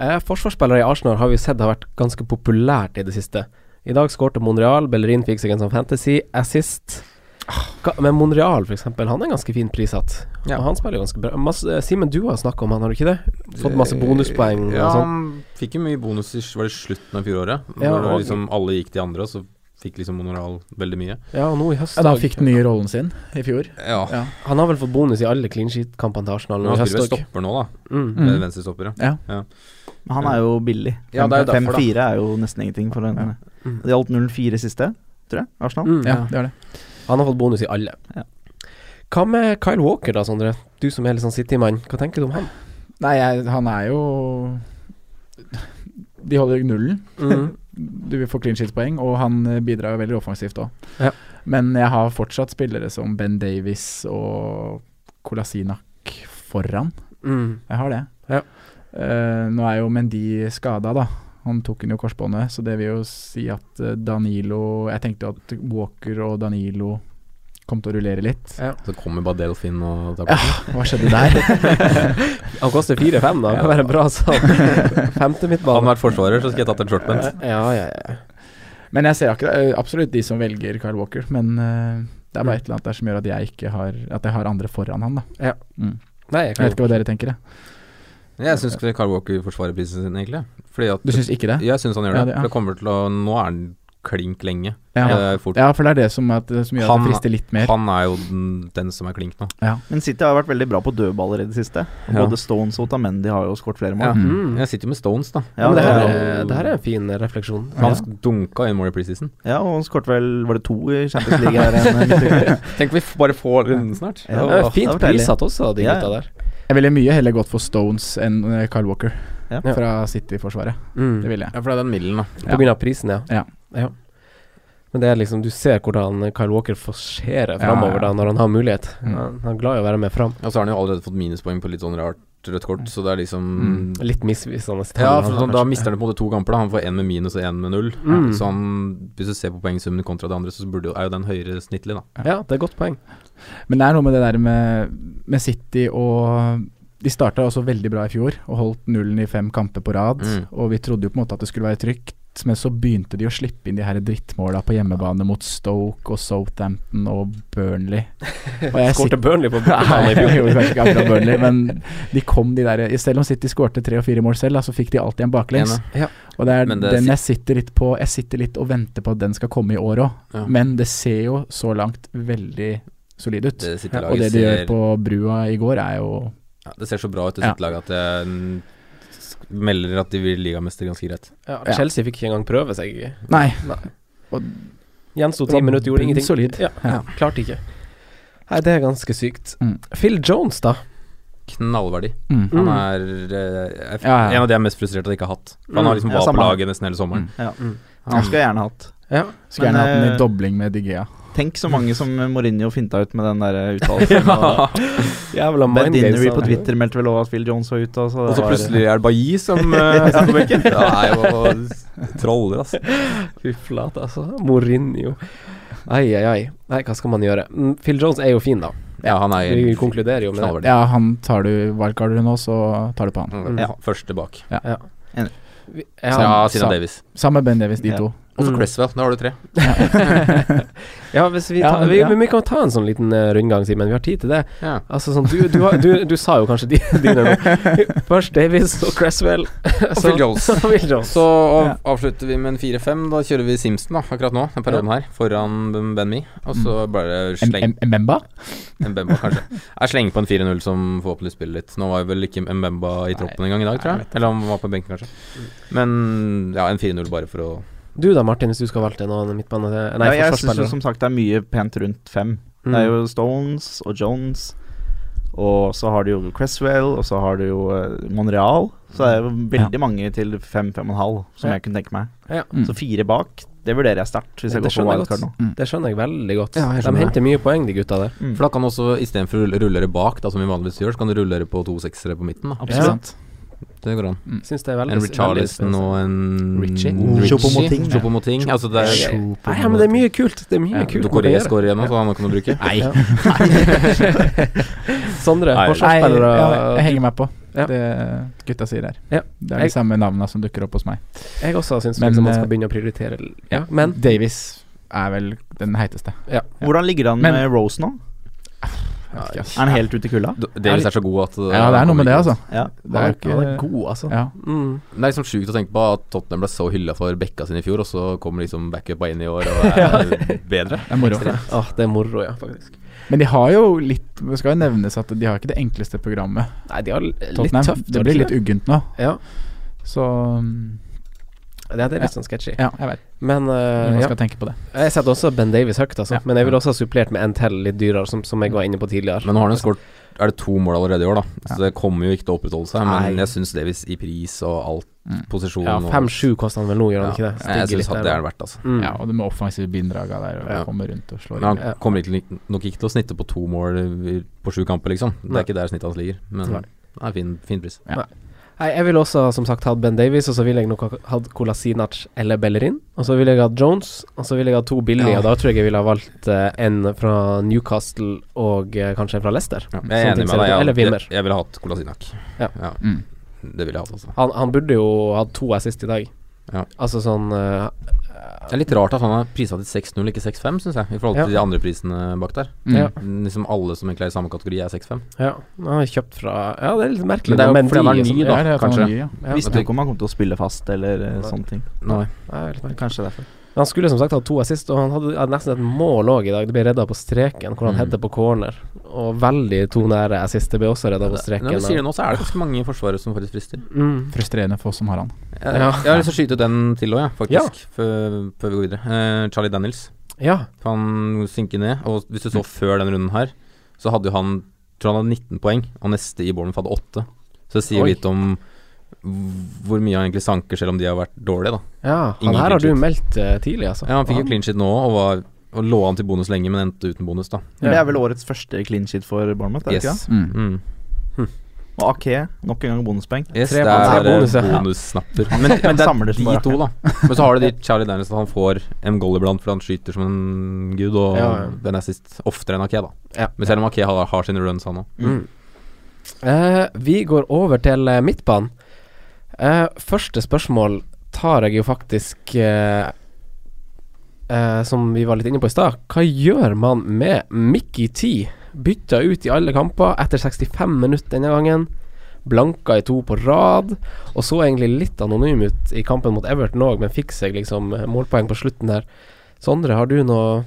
Speaker 2: Eh, forsvarsspillere i Arsenal har vi sett har vært ganske populært i det siste. I dag skårte Monreal, Bellerin fikk seg en sånn fantasy assist. Ka- Men Monreal, for eksempel, han er ganske fint prissatt. Og han spiller jo ganske bra. Masse, Simen, du har snakka om han, har du ikke det? Fått masse bonuspoeng
Speaker 5: Eh, Ja,
Speaker 2: og sånn.
Speaker 5: han fikk jo mye bonus i var det slutten av fjoråret.
Speaker 2: Ja,
Speaker 5: Ja, når
Speaker 2: og-
Speaker 5: liksom alle gikk til andre, og så fikk liksom Monoral veldig mye.
Speaker 2: Ja, og nå i høst
Speaker 4: Ja, da fikk den nye rollen sin i fjor.
Speaker 5: Ja.
Speaker 4: Ja.
Speaker 2: Han har vel fått bonus i alle clean sheet-kampene til Arsenal
Speaker 5: Men
Speaker 2: nå i
Speaker 5: han
Speaker 2: høst
Speaker 5: spiller vel
Speaker 2: òg.
Speaker 5: stopper nå, da.
Speaker 2: Mm.
Speaker 5: Med
Speaker 4: Mm.
Speaker 5: Venstrestopper,
Speaker 4: Ja.
Speaker 5: ja.
Speaker 3: Men han er jo billig.
Speaker 5: Ja, det er jo derfor, da.
Speaker 3: 5-4 er jo nesten ingenting for en eh,
Speaker 2: Mm.
Speaker 3: Det gjaldt 0-4 siste, tror jeg. Arsenal.
Speaker 2: Mm.
Speaker 4: Ja, det var det.
Speaker 2: Han har fått bonus i alle.
Speaker 3: Ja.
Speaker 2: Hva med Kyle Walker da, Sondre? Du som er litt sånn City-mann, hva tenker du om han?
Speaker 4: Nei, jeg, han er jo De holder nullen.
Speaker 2: Mm.
Speaker 4: Du vil få clean sheet-poeng, og han eh, bidrar jo veldig offensivt òg.
Speaker 2: Ja.
Speaker 4: Men jeg har fortsatt spillere som Ben Davies og Kolasinak foran.
Speaker 2: Mm.
Speaker 4: Jeg har det.
Speaker 2: Ja.
Speaker 4: Eh, nå er jo Mendy skada, da. Han tok den jo korsbåndet, så det vil jo si at eh, Danilo Jeg tenkte jo at Walker og Danilo kom til å rullere litt.
Speaker 5: Så kommer bare Delfin og tar
Speaker 4: Ja, hva skjedde der?
Speaker 2: Han koster 4-5 da, det kan være en bra sånn femte
Speaker 5: Hadde han
Speaker 2: midtbane.
Speaker 5: vært forsvarer, så skulle jeg tatt en shortbent.
Speaker 2: Ja, ja, ja.
Speaker 4: Men jeg ser akkurat, eh, absolutt de som velger Kyle Walker, men eh, det er
Speaker 2: Mm.
Speaker 4: bare et eller annet der som gjør at jeg ikke har At jeg har andre foran han, da. Mm.
Speaker 2: Nei, jeg
Speaker 4: Jeg vet
Speaker 2: kan
Speaker 4: ikke hva dere tenker, jeg.
Speaker 5: Jeg syns Carl Walker forsvarer prisen sin, egentlig. Fordi at
Speaker 4: Du syns ikke det?
Speaker 5: Jeg syns han gjør
Speaker 4: Ja,
Speaker 5: det.
Speaker 4: det- ja.
Speaker 5: For det kommer til å Nå er han klink lenge.
Speaker 4: Ja.
Speaker 5: Det er fort.
Speaker 4: Ja, for det er det som, at, eh, som gjør at
Speaker 5: Han-
Speaker 4: det frister litt mer.
Speaker 5: Han er jo den, den som er klink nå.
Speaker 3: Men City har vært veldig bra på dødballer i det siste. Og
Speaker 5: Ja.
Speaker 3: Både Stones og Tamendi har jo skåret flere mål.
Speaker 5: Ja.
Speaker 2: Mm.
Speaker 5: Jeg sitter jo med Stones, da.
Speaker 2: ja, men det, her er,
Speaker 5: Ja.
Speaker 2: det her er en fin eh, refleksjon.
Speaker 5: Han dunka inn mål i preseason.
Speaker 3: Ja, og han skåret vel Var det to i Champions League her? en- en uke?
Speaker 5: Tenk vi f- bare får runden snart.
Speaker 3: Ja.
Speaker 2: Det er
Speaker 3: Åh,
Speaker 2: fint
Speaker 3: det var deilig.
Speaker 2: prissatt også, de
Speaker 3: Ja,
Speaker 2: gutta der.
Speaker 4: Jeg ville mye heller gått for Stones enn eh, Kyle Walker
Speaker 3: Ja.
Speaker 4: fra City-forsvaret.
Speaker 2: Mm.
Speaker 4: Det ville jeg.
Speaker 5: Ja, for det er den middelen, da.
Speaker 2: På grunn av prisen, ja.
Speaker 4: Ja.
Speaker 2: Men det er liksom, du ser hvordan Kyle Walker forserer framover
Speaker 4: Ja, ja.
Speaker 2: da, når han har mulighet.
Speaker 4: Mm.
Speaker 2: Han, han er glad i å være med fram.
Speaker 5: Og så har han jo allerede fått minuspoeng på litt sånn rart rødt kort, så det er liksom
Speaker 4: Mm.
Speaker 2: Litt misvisende. tall,
Speaker 5: Ja,
Speaker 2: han
Speaker 5: for
Speaker 2: har
Speaker 5: sånn, da
Speaker 2: kanskje.
Speaker 5: mister han på en måte to kamper. da Han får én med minus og én med null.
Speaker 2: Mm.
Speaker 5: Så han, hvis du ser på poengsummen kontra det andre, så burde jo, er jo den høyere snittlig, da.
Speaker 2: Ja, det er et godt poeng.
Speaker 4: Men det er noe med det der med, med City og De starta også veldig bra i fjor og holdt nullen i fem kamper på rad.
Speaker 5: Mm.
Speaker 4: Og vi trodde jo på en måte at det skulle være trygt, men så begynte de å slippe inn de her drittmåla på hjemmebane mot Stoke og Southampton og Burnley. Og jeg
Speaker 2: Skårte Burnley på
Speaker 4: Nei,
Speaker 2: bortebane i
Speaker 4: jeg
Speaker 2: fjor.
Speaker 4: gjorde kanskje ikke akkurat Burnley, men de kom de der Selv om City skårte tre og fire mål selv, da, så fikk de alltid en baklengs.
Speaker 5: Ene.
Speaker 2: Ja.
Speaker 4: Og det er
Speaker 5: Men det er City-
Speaker 4: den jeg sitter litt på Jeg sitter litt og venter på at den skal komme i år òg,
Speaker 5: Ja.
Speaker 4: men det ser jo så langt veldig solid ut.
Speaker 5: Det
Speaker 4: Ja, og
Speaker 5: City-laget
Speaker 4: det de
Speaker 5: ser
Speaker 4: gjør på brua i går, er jo
Speaker 5: ja, Det ser så bra ut, det
Speaker 4: Ja.
Speaker 5: City-laget, at jeg mm, sk- melder at de blir ligamester ganske greit.
Speaker 2: Ja,
Speaker 4: Ja.
Speaker 2: Chelsea fikk ikke engang prøve seg.
Speaker 4: Nei.
Speaker 2: Gjensto
Speaker 4: Det
Speaker 2: ti
Speaker 4: var
Speaker 2: minutter, gjorde ingenting.
Speaker 4: bunnsolid.
Speaker 2: Ja,
Speaker 4: Ja.
Speaker 2: Klarte ikke. Nei, det er ganske sykt.
Speaker 4: Mm.
Speaker 2: Phil Jones, da.
Speaker 5: Knallverdig.
Speaker 4: mm.
Speaker 5: Han
Speaker 2: Mm.
Speaker 5: er, eh, er f-
Speaker 4: Ja, ja.
Speaker 5: en av de jeg er mest frustrert at jeg ikke har hatt. For han har liksom
Speaker 3: Ja,
Speaker 5: vært
Speaker 3: samme
Speaker 5: på laget nesten hele sommeren.
Speaker 3: Han skulle jeg gjerne hatt.
Speaker 2: Ja.
Speaker 4: Skulle
Speaker 3: Men,
Speaker 4: gjerne hatt den
Speaker 3: eh,
Speaker 4: i dobling med Digea.
Speaker 3: Tenk så mange som Mourinho finta ut med den der eh, uttalelsen. og
Speaker 2: Jævla altså.
Speaker 3: Ben Dinnery
Speaker 2: mindgames.
Speaker 3: på Twitter meldte vel også at Phil Jones var ute. Og
Speaker 5: altså.
Speaker 3: så,
Speaker 5: Og
Speaker 3: det
Speaker 5: så
Speaker 3: var-
Speaker 5: plutselig er det Bailly som uh, sitter på benken. Det er jo troller, altså.
Speaker 2: Fy flate, altså. Mourinho. Ai, ai, ai. Nei, hva skal man gjøre? Mm, Phil Jones er jo fin, da.
Speaker 5: Ja, han er
Speaker 2: Vi konkluderer jo med det.
Speaker 5: knallverdig.
Speaker 4: Ja, han tar du wildcarder nå, så tar du på han.
Speaker 5: Mm,
Speaker 2: Ja.
Speaker 5: Første bak.
Speaker 2: Vi-
Speaker 5: Ja,
Speaker 2: Ja,
Speaker 5: Sina
Speaker 4: sa-
Speaker 5: Davis.
Speaker 4: Sammen med Ben Davies, de
Speaker 3: Ja.
Speaker 4: to.
Speaker 5: Og så
Speaker 2: Mm.
Speaker 5: Cresswell. Da har du tre.
Speaker 2: ja hvis vi,
Speaker 4: Ja,
Speaker 2: tar, vi,
Speaker 4: ja.
Speaker 2: men vi kan ta en sånn liten eh, rundgang, Simen. Vi har tid til det.
Speaker 5: Ja.
Speaker 2: Altså sånn, du, du, har- du, du sa jo kanskje de- dine nå. Først Davies og Cresswell. så-
Speaker 5: Phil Jones.
Speaker 2: så Phil Jones.
Speaker 5: Så av-
Speaker 3: Ja.
Speaker 5: avslutter vi med en 4-5. Da kjører vi Simpson da, akkurat nå, den perioden her, foran Ben Me. Og så bare
Speaker 4: M-
Speaker 5: sleng
Speaker 4: M- Mbemba?
Speaker 5: Mbemba, kanskje. Jeg slenger på en 4-0 som forhåpentlig spiller litt. Nå var jo vel ikke Mbemba i troppen engang i dag, tror jeg. Mm. Eller han var på benken, kanskje. Men ja, en 4-0 bare for å
Speaker 2: Du da, Martin, hvis du skal valgte noen midtbane... Nei,
Speaker 3: ja, jeg syns jo
Speaker 2: forsvarsspillere.
Speaker 3: som sagt det er mye pent rundt fem.
Speaker 2: Mm.
Speaker 3: Det er jo Stones og Jones, og så har du jo Cresswell, og så har du jo eh, Monreal. Så det er jo veldig mange til fem, fem og en halv,
Speaker 2: Mm. Ja.
Speaker 3: som jeg kunne tenke meg.
Speaker 2: Ja.
Speaker 4: Mm.
Speaker 3: Så fire bak, det vurderer jeg sterkt, hvis
Speaker 2: Ja, det
Speaker 3: jeg går for
Speaker 2: skjønner jeg
Speaker 3: wildcard nå.
Speaker 2: Det skjønner jeg veldig godt.
Speaker 4: Ja, jeg
Speaker 2: de
Speaker 4: skjønner
Speaker 2: henter mye poeng, de gutta der.
Speaker 3: Mm.
Speaker 5: For da kan du også, istedenfor å rulle- rullere bak, da, som vi vanligvis gjør, så kan du rullere på to seksere på midten. da
Speaker 4: Ikke sant?
Speaker 5: Det går an.
Speaker 2: Syns det er veldig
Speaker 5: En Richarlison
Speaker 2: veldig
Speaker 5: og en
Speaker 4: Richie.
Speaker 3: Choupo-Moting.
Speaker 5: Chopomoting. Altså, det er
Speaker 2: spennende. Nei, ja, men det er mye kult. Det er mye
Speaker 4: Ja,
Speaker 2: kult. man
Speaker 5: Dokoré
Speaker 2: kan gjøre.
Speaker 5: skårer igjen nå, så han kan du bruke. Nei.
Speaker 2: Ja. Sondre,
Speaker 5: Nei,
Speaker 4: Nei,
Speaker 2: forsvarsspillere
Speaker 4: ja, jeg henger meg på
Speaker 2: Ja.
Speaker 4: det gutta sier her.
Speaker 2: Ja.
Speaker 4: Det er
Speaker 2: Jeg-
Speaker 4: de samme navna som dukker opp hos meg.
Speaker 2: Jeg også syns
Speaker 4: Men,
Speaker 2: liksom man
Speaker 4: eh,
Speaker 2: skal begynne å prioritere. l- Ja, men
Speaker 4: Davies er vel den heiteste.
Speaker 2: Ja.
Speaker 3: Hvordan ligger det an
Speaker 4: Men-
Speaker 3: med Rose nå?
Speaker 4: Jeg vet ikke, ass.
Speaker 3: Er han helt ute i kulda?
Speaker 5: Davis er så god at
Speaker 4: Ja, det er noe med det, altså.
Speaker 3: Ja.
Speaker 4: Det er jo
Speaker 2: Han er
Speaker 4: ikke
Speaker 2: god, altså.
Speaker 4: ja.
Speaker 2: Mm.
Speaker 5: Det er liksom sjukt å tenke på at Tottenham ble så hylla for bekka sine i fjor, og så kommer liksom backupa inn i år og er bedre.
Speaker 4: Det er moro.
Speaker 2: Ah, det er moro, ja, faktisk.
Speaker 4: Men de har jo litt Det skal jo nevnes at de har ikke det enkleste programmet.
Speaker 2: Nei, de har l- litt
Speaker 4: Tottenham.
Speaker 2: tøft. har
Speaker 4: det
Speaker 2: de
Speaker 4: blir
Speaker 2: ikke
Speaker 4: litt uggent nå.
Speaker 2: Ja.
Speaker 4: Så mm,
Speaker 2: Det det er litt sånn sketchy.
Speaker 4: ja, jeg vet.
Speaker 2: Men eh,
Speaker 4: Man
Speaker 2: ja.
Speaker 4: skal tenke på det.
Speaker 2: jeg setter også Ben Davies høyt, altså.
Speaker 4: Ja.
Speaker 2: Men jeg ville også ha supplert med en til litt dyrere, som, som jeg var inne på tidligere.
Speaker 5: Men nå har han jo skåret Er det to mål allerede i år, da? Så det kommer jo ikke til å opprettholde seg. Men jeg syns Davis i pris og alt,
Speaker 2: Mm.
Speaker 5: posisjon
Speaker 2: ja,
Speaker 5: og-
Speaker 2: 5-7 koster han vel nå, gjør han
Speaker 5: Ja,
Speaker 2: ikke det?
Speaker 5: Jeg
Speaker 2: Stiger
Speaker 5: syns
Speaker 2: litt
Speaker 5: at
Speaker 2: der,
Speaker 5: det
Speaker 2: da.
Speaker 5: er det verdt, altså.
Speaker 2: Mm.
Speaker 4: Ja, og det med offensive binndraga der, og
Speaker 2: Ja.
Speaker 4: komme rundt og slå
Speaker 5: Men han
Speaker 4: inn.
Speaker 2: Ja.
Speaker 5: kommer ikke, nok ikke til å snitte på to mål i- på sju kamper, liksom. Det
Speaker 2: Nei.
Speaker 5: er ikke der snittet hans ligger. Men
Speaker 2: Nei.
Speaker 5: det er fin, fin pris.
Speaker 2: Nei, jeg ville også som sagt hatt Ben Davies, og så ville jeg nok ha hatt Kolasinac eller Bellerin. Og så ville jeg hatt Jones, og så ville jeg hatt to billige,
Speaker 4: Ja.
Speaker 2: og da tror jeg jeg ville ha valgt eh, en fra Newcastle og eh, kanskje en fra Leicester.
Speaker 5: Ja, jeg er
Speaker 2: Sånn ting
Speaker 5: enig
Speaker 2: ser det
Speaker 5: med deg.
Speaker 2: ut.
Speaker 5: Jeg,
Speaker 2: Eller
Speaker 5: jeg,
Speaker 2: Wimmer.
Speaker 5: jeg ville hatt Kolasinak.
Speaker 2: Ja.
Speaker 4: Mm.
Speaker 5: Det ville jeg hatt, altså.
Speaker 2: Han, han burde jo hatt to assist i dag.
Speaker 5: Ja.
Speaker 2: Altså sånn eh,
Speaker 5: Det er litt rart at han er prisa til 6-0, ikke 6-5, syns jeg. I forhold
Speaker 2: Ja.
Speaker 5: til de andre prisene bak der.
Speaker 4: Mm.
Speaker 2: Ja.
Speaker 5: Liksom alle som egentlig er i samme kategori, er 6-5.
Speaker 2: Ja, han er kjøpt fra Ja, det er litt merkelig.
Speaker 5: Men det er jo
Speaker 2: når Mendy
Speaker 5: fordi han
Speaker 2: og
Speaker 5: er
Speaker 2: sånn-
Speaker 5: ny, da,
Speaker 4: Ja, det er at han
Speaker 5: kanskje.
Speaker 4: er ny, ja.
Speaker 2: Ja,
Speaker 3: Visste
Speaker 5: men-
Speaker 3: ikke om han kom til å spille fast eller eh, sånne ting.
Speaker 5: Nei.
Speaker 2: det er litt merkelig.
Speaker 3: Kanskje derfor.
Speaker 2: Han skulle som sagt ha to assist, og han hadde, hadde nesten et mål òg i dag. Det ble redda på streken, hvor han
Speaker 5: Mm.
Speaker 2: header på corner. Og veldig to nære assist. Det ble også redda på streken.
Speaker 5: Når du sier
Speaker 2: av-
Speaker 5: det nå, så er det ganske mange forsvarere som faktisk frister.
Speaker 2: mm.
Speaker 4: Frustrerende for oss som har han.
Speaker 5: Jeg,
Speaker 2: Ja.
Speaker 5: jeg har lyst til å skyte ut den til òg, jeg, faktisk. Før, før vi går videre. Eh, Charlie Daniels.
Speaker 2: Ja.
Speaker 5: Han synker ned. Og hvis
Speaker 2: Mm.
Speaker 5: du så før den runden her, så hadde jo han Tror han hadde 19 poeng, og neste i Bournemouth hadde 8. Så det sier
Speaker 2: Oi.
Speaker 5: litt om hvor mye han egentlig sanker, selv om de har vært dårlige, da.
Speaker 2: ja. Han
Speaker 5: Ingen
Speaker 2: her har du
Speaker 5: clean sheet.
Speaker 2: meldt eh, tidlig, altså.
Speaker 5: Ja, han fikk jo clean sheet nå, og, var, og lå an til bonus lenge, men endte uten bonus, da.
Speaker 3: Men Det er vel årets første clean sheet for Bournemouth? er det ikke det?
Speaker 5: Yes.
Speaker 4: Mm.
Speaker 5: Mm.
Speaker 3: Og Ake, nok en gang bonuspoeng.
Speaker 5: Yes,
Speaker 2: Tre
Speaker 5: det
Speaker 2: bonus-
Speaker 5: er
Speaker 2: tre bonus, ja.
Speaker 5: eh, bonussnapper. Men, men det
Speaker 3: Samler
Speaker 5: er de
Speaker 3: som bare-
Speaker 5: to, da. Men så har du de Charlie Daniels, at han får en goal iblant fordi han skyter som en gud, og
Speaker 2: Ja, ja.
Speaker 5: den er sist oftere enn Ake, da.
Speaker 2: Ja.
Speaker 5: Men selv om Ake har, har sine runs, han òg.
Speaker 2: Mm. Eh, vi går over til eh, midtbanen. Eh, første spørsmål tar jeg jo faktisk eh, eh, Som vi var litt inne på i stad. Hva gjør man med Mickey T? Bytta ut i alle kamper etter 65 minutter denne gangen. Blanka i to på rad. Og så egentlig litt anonym ut i kampen mot Everton òg, men fikk seg liksom eh, målpoeng på slutten der. Sondre, har du noe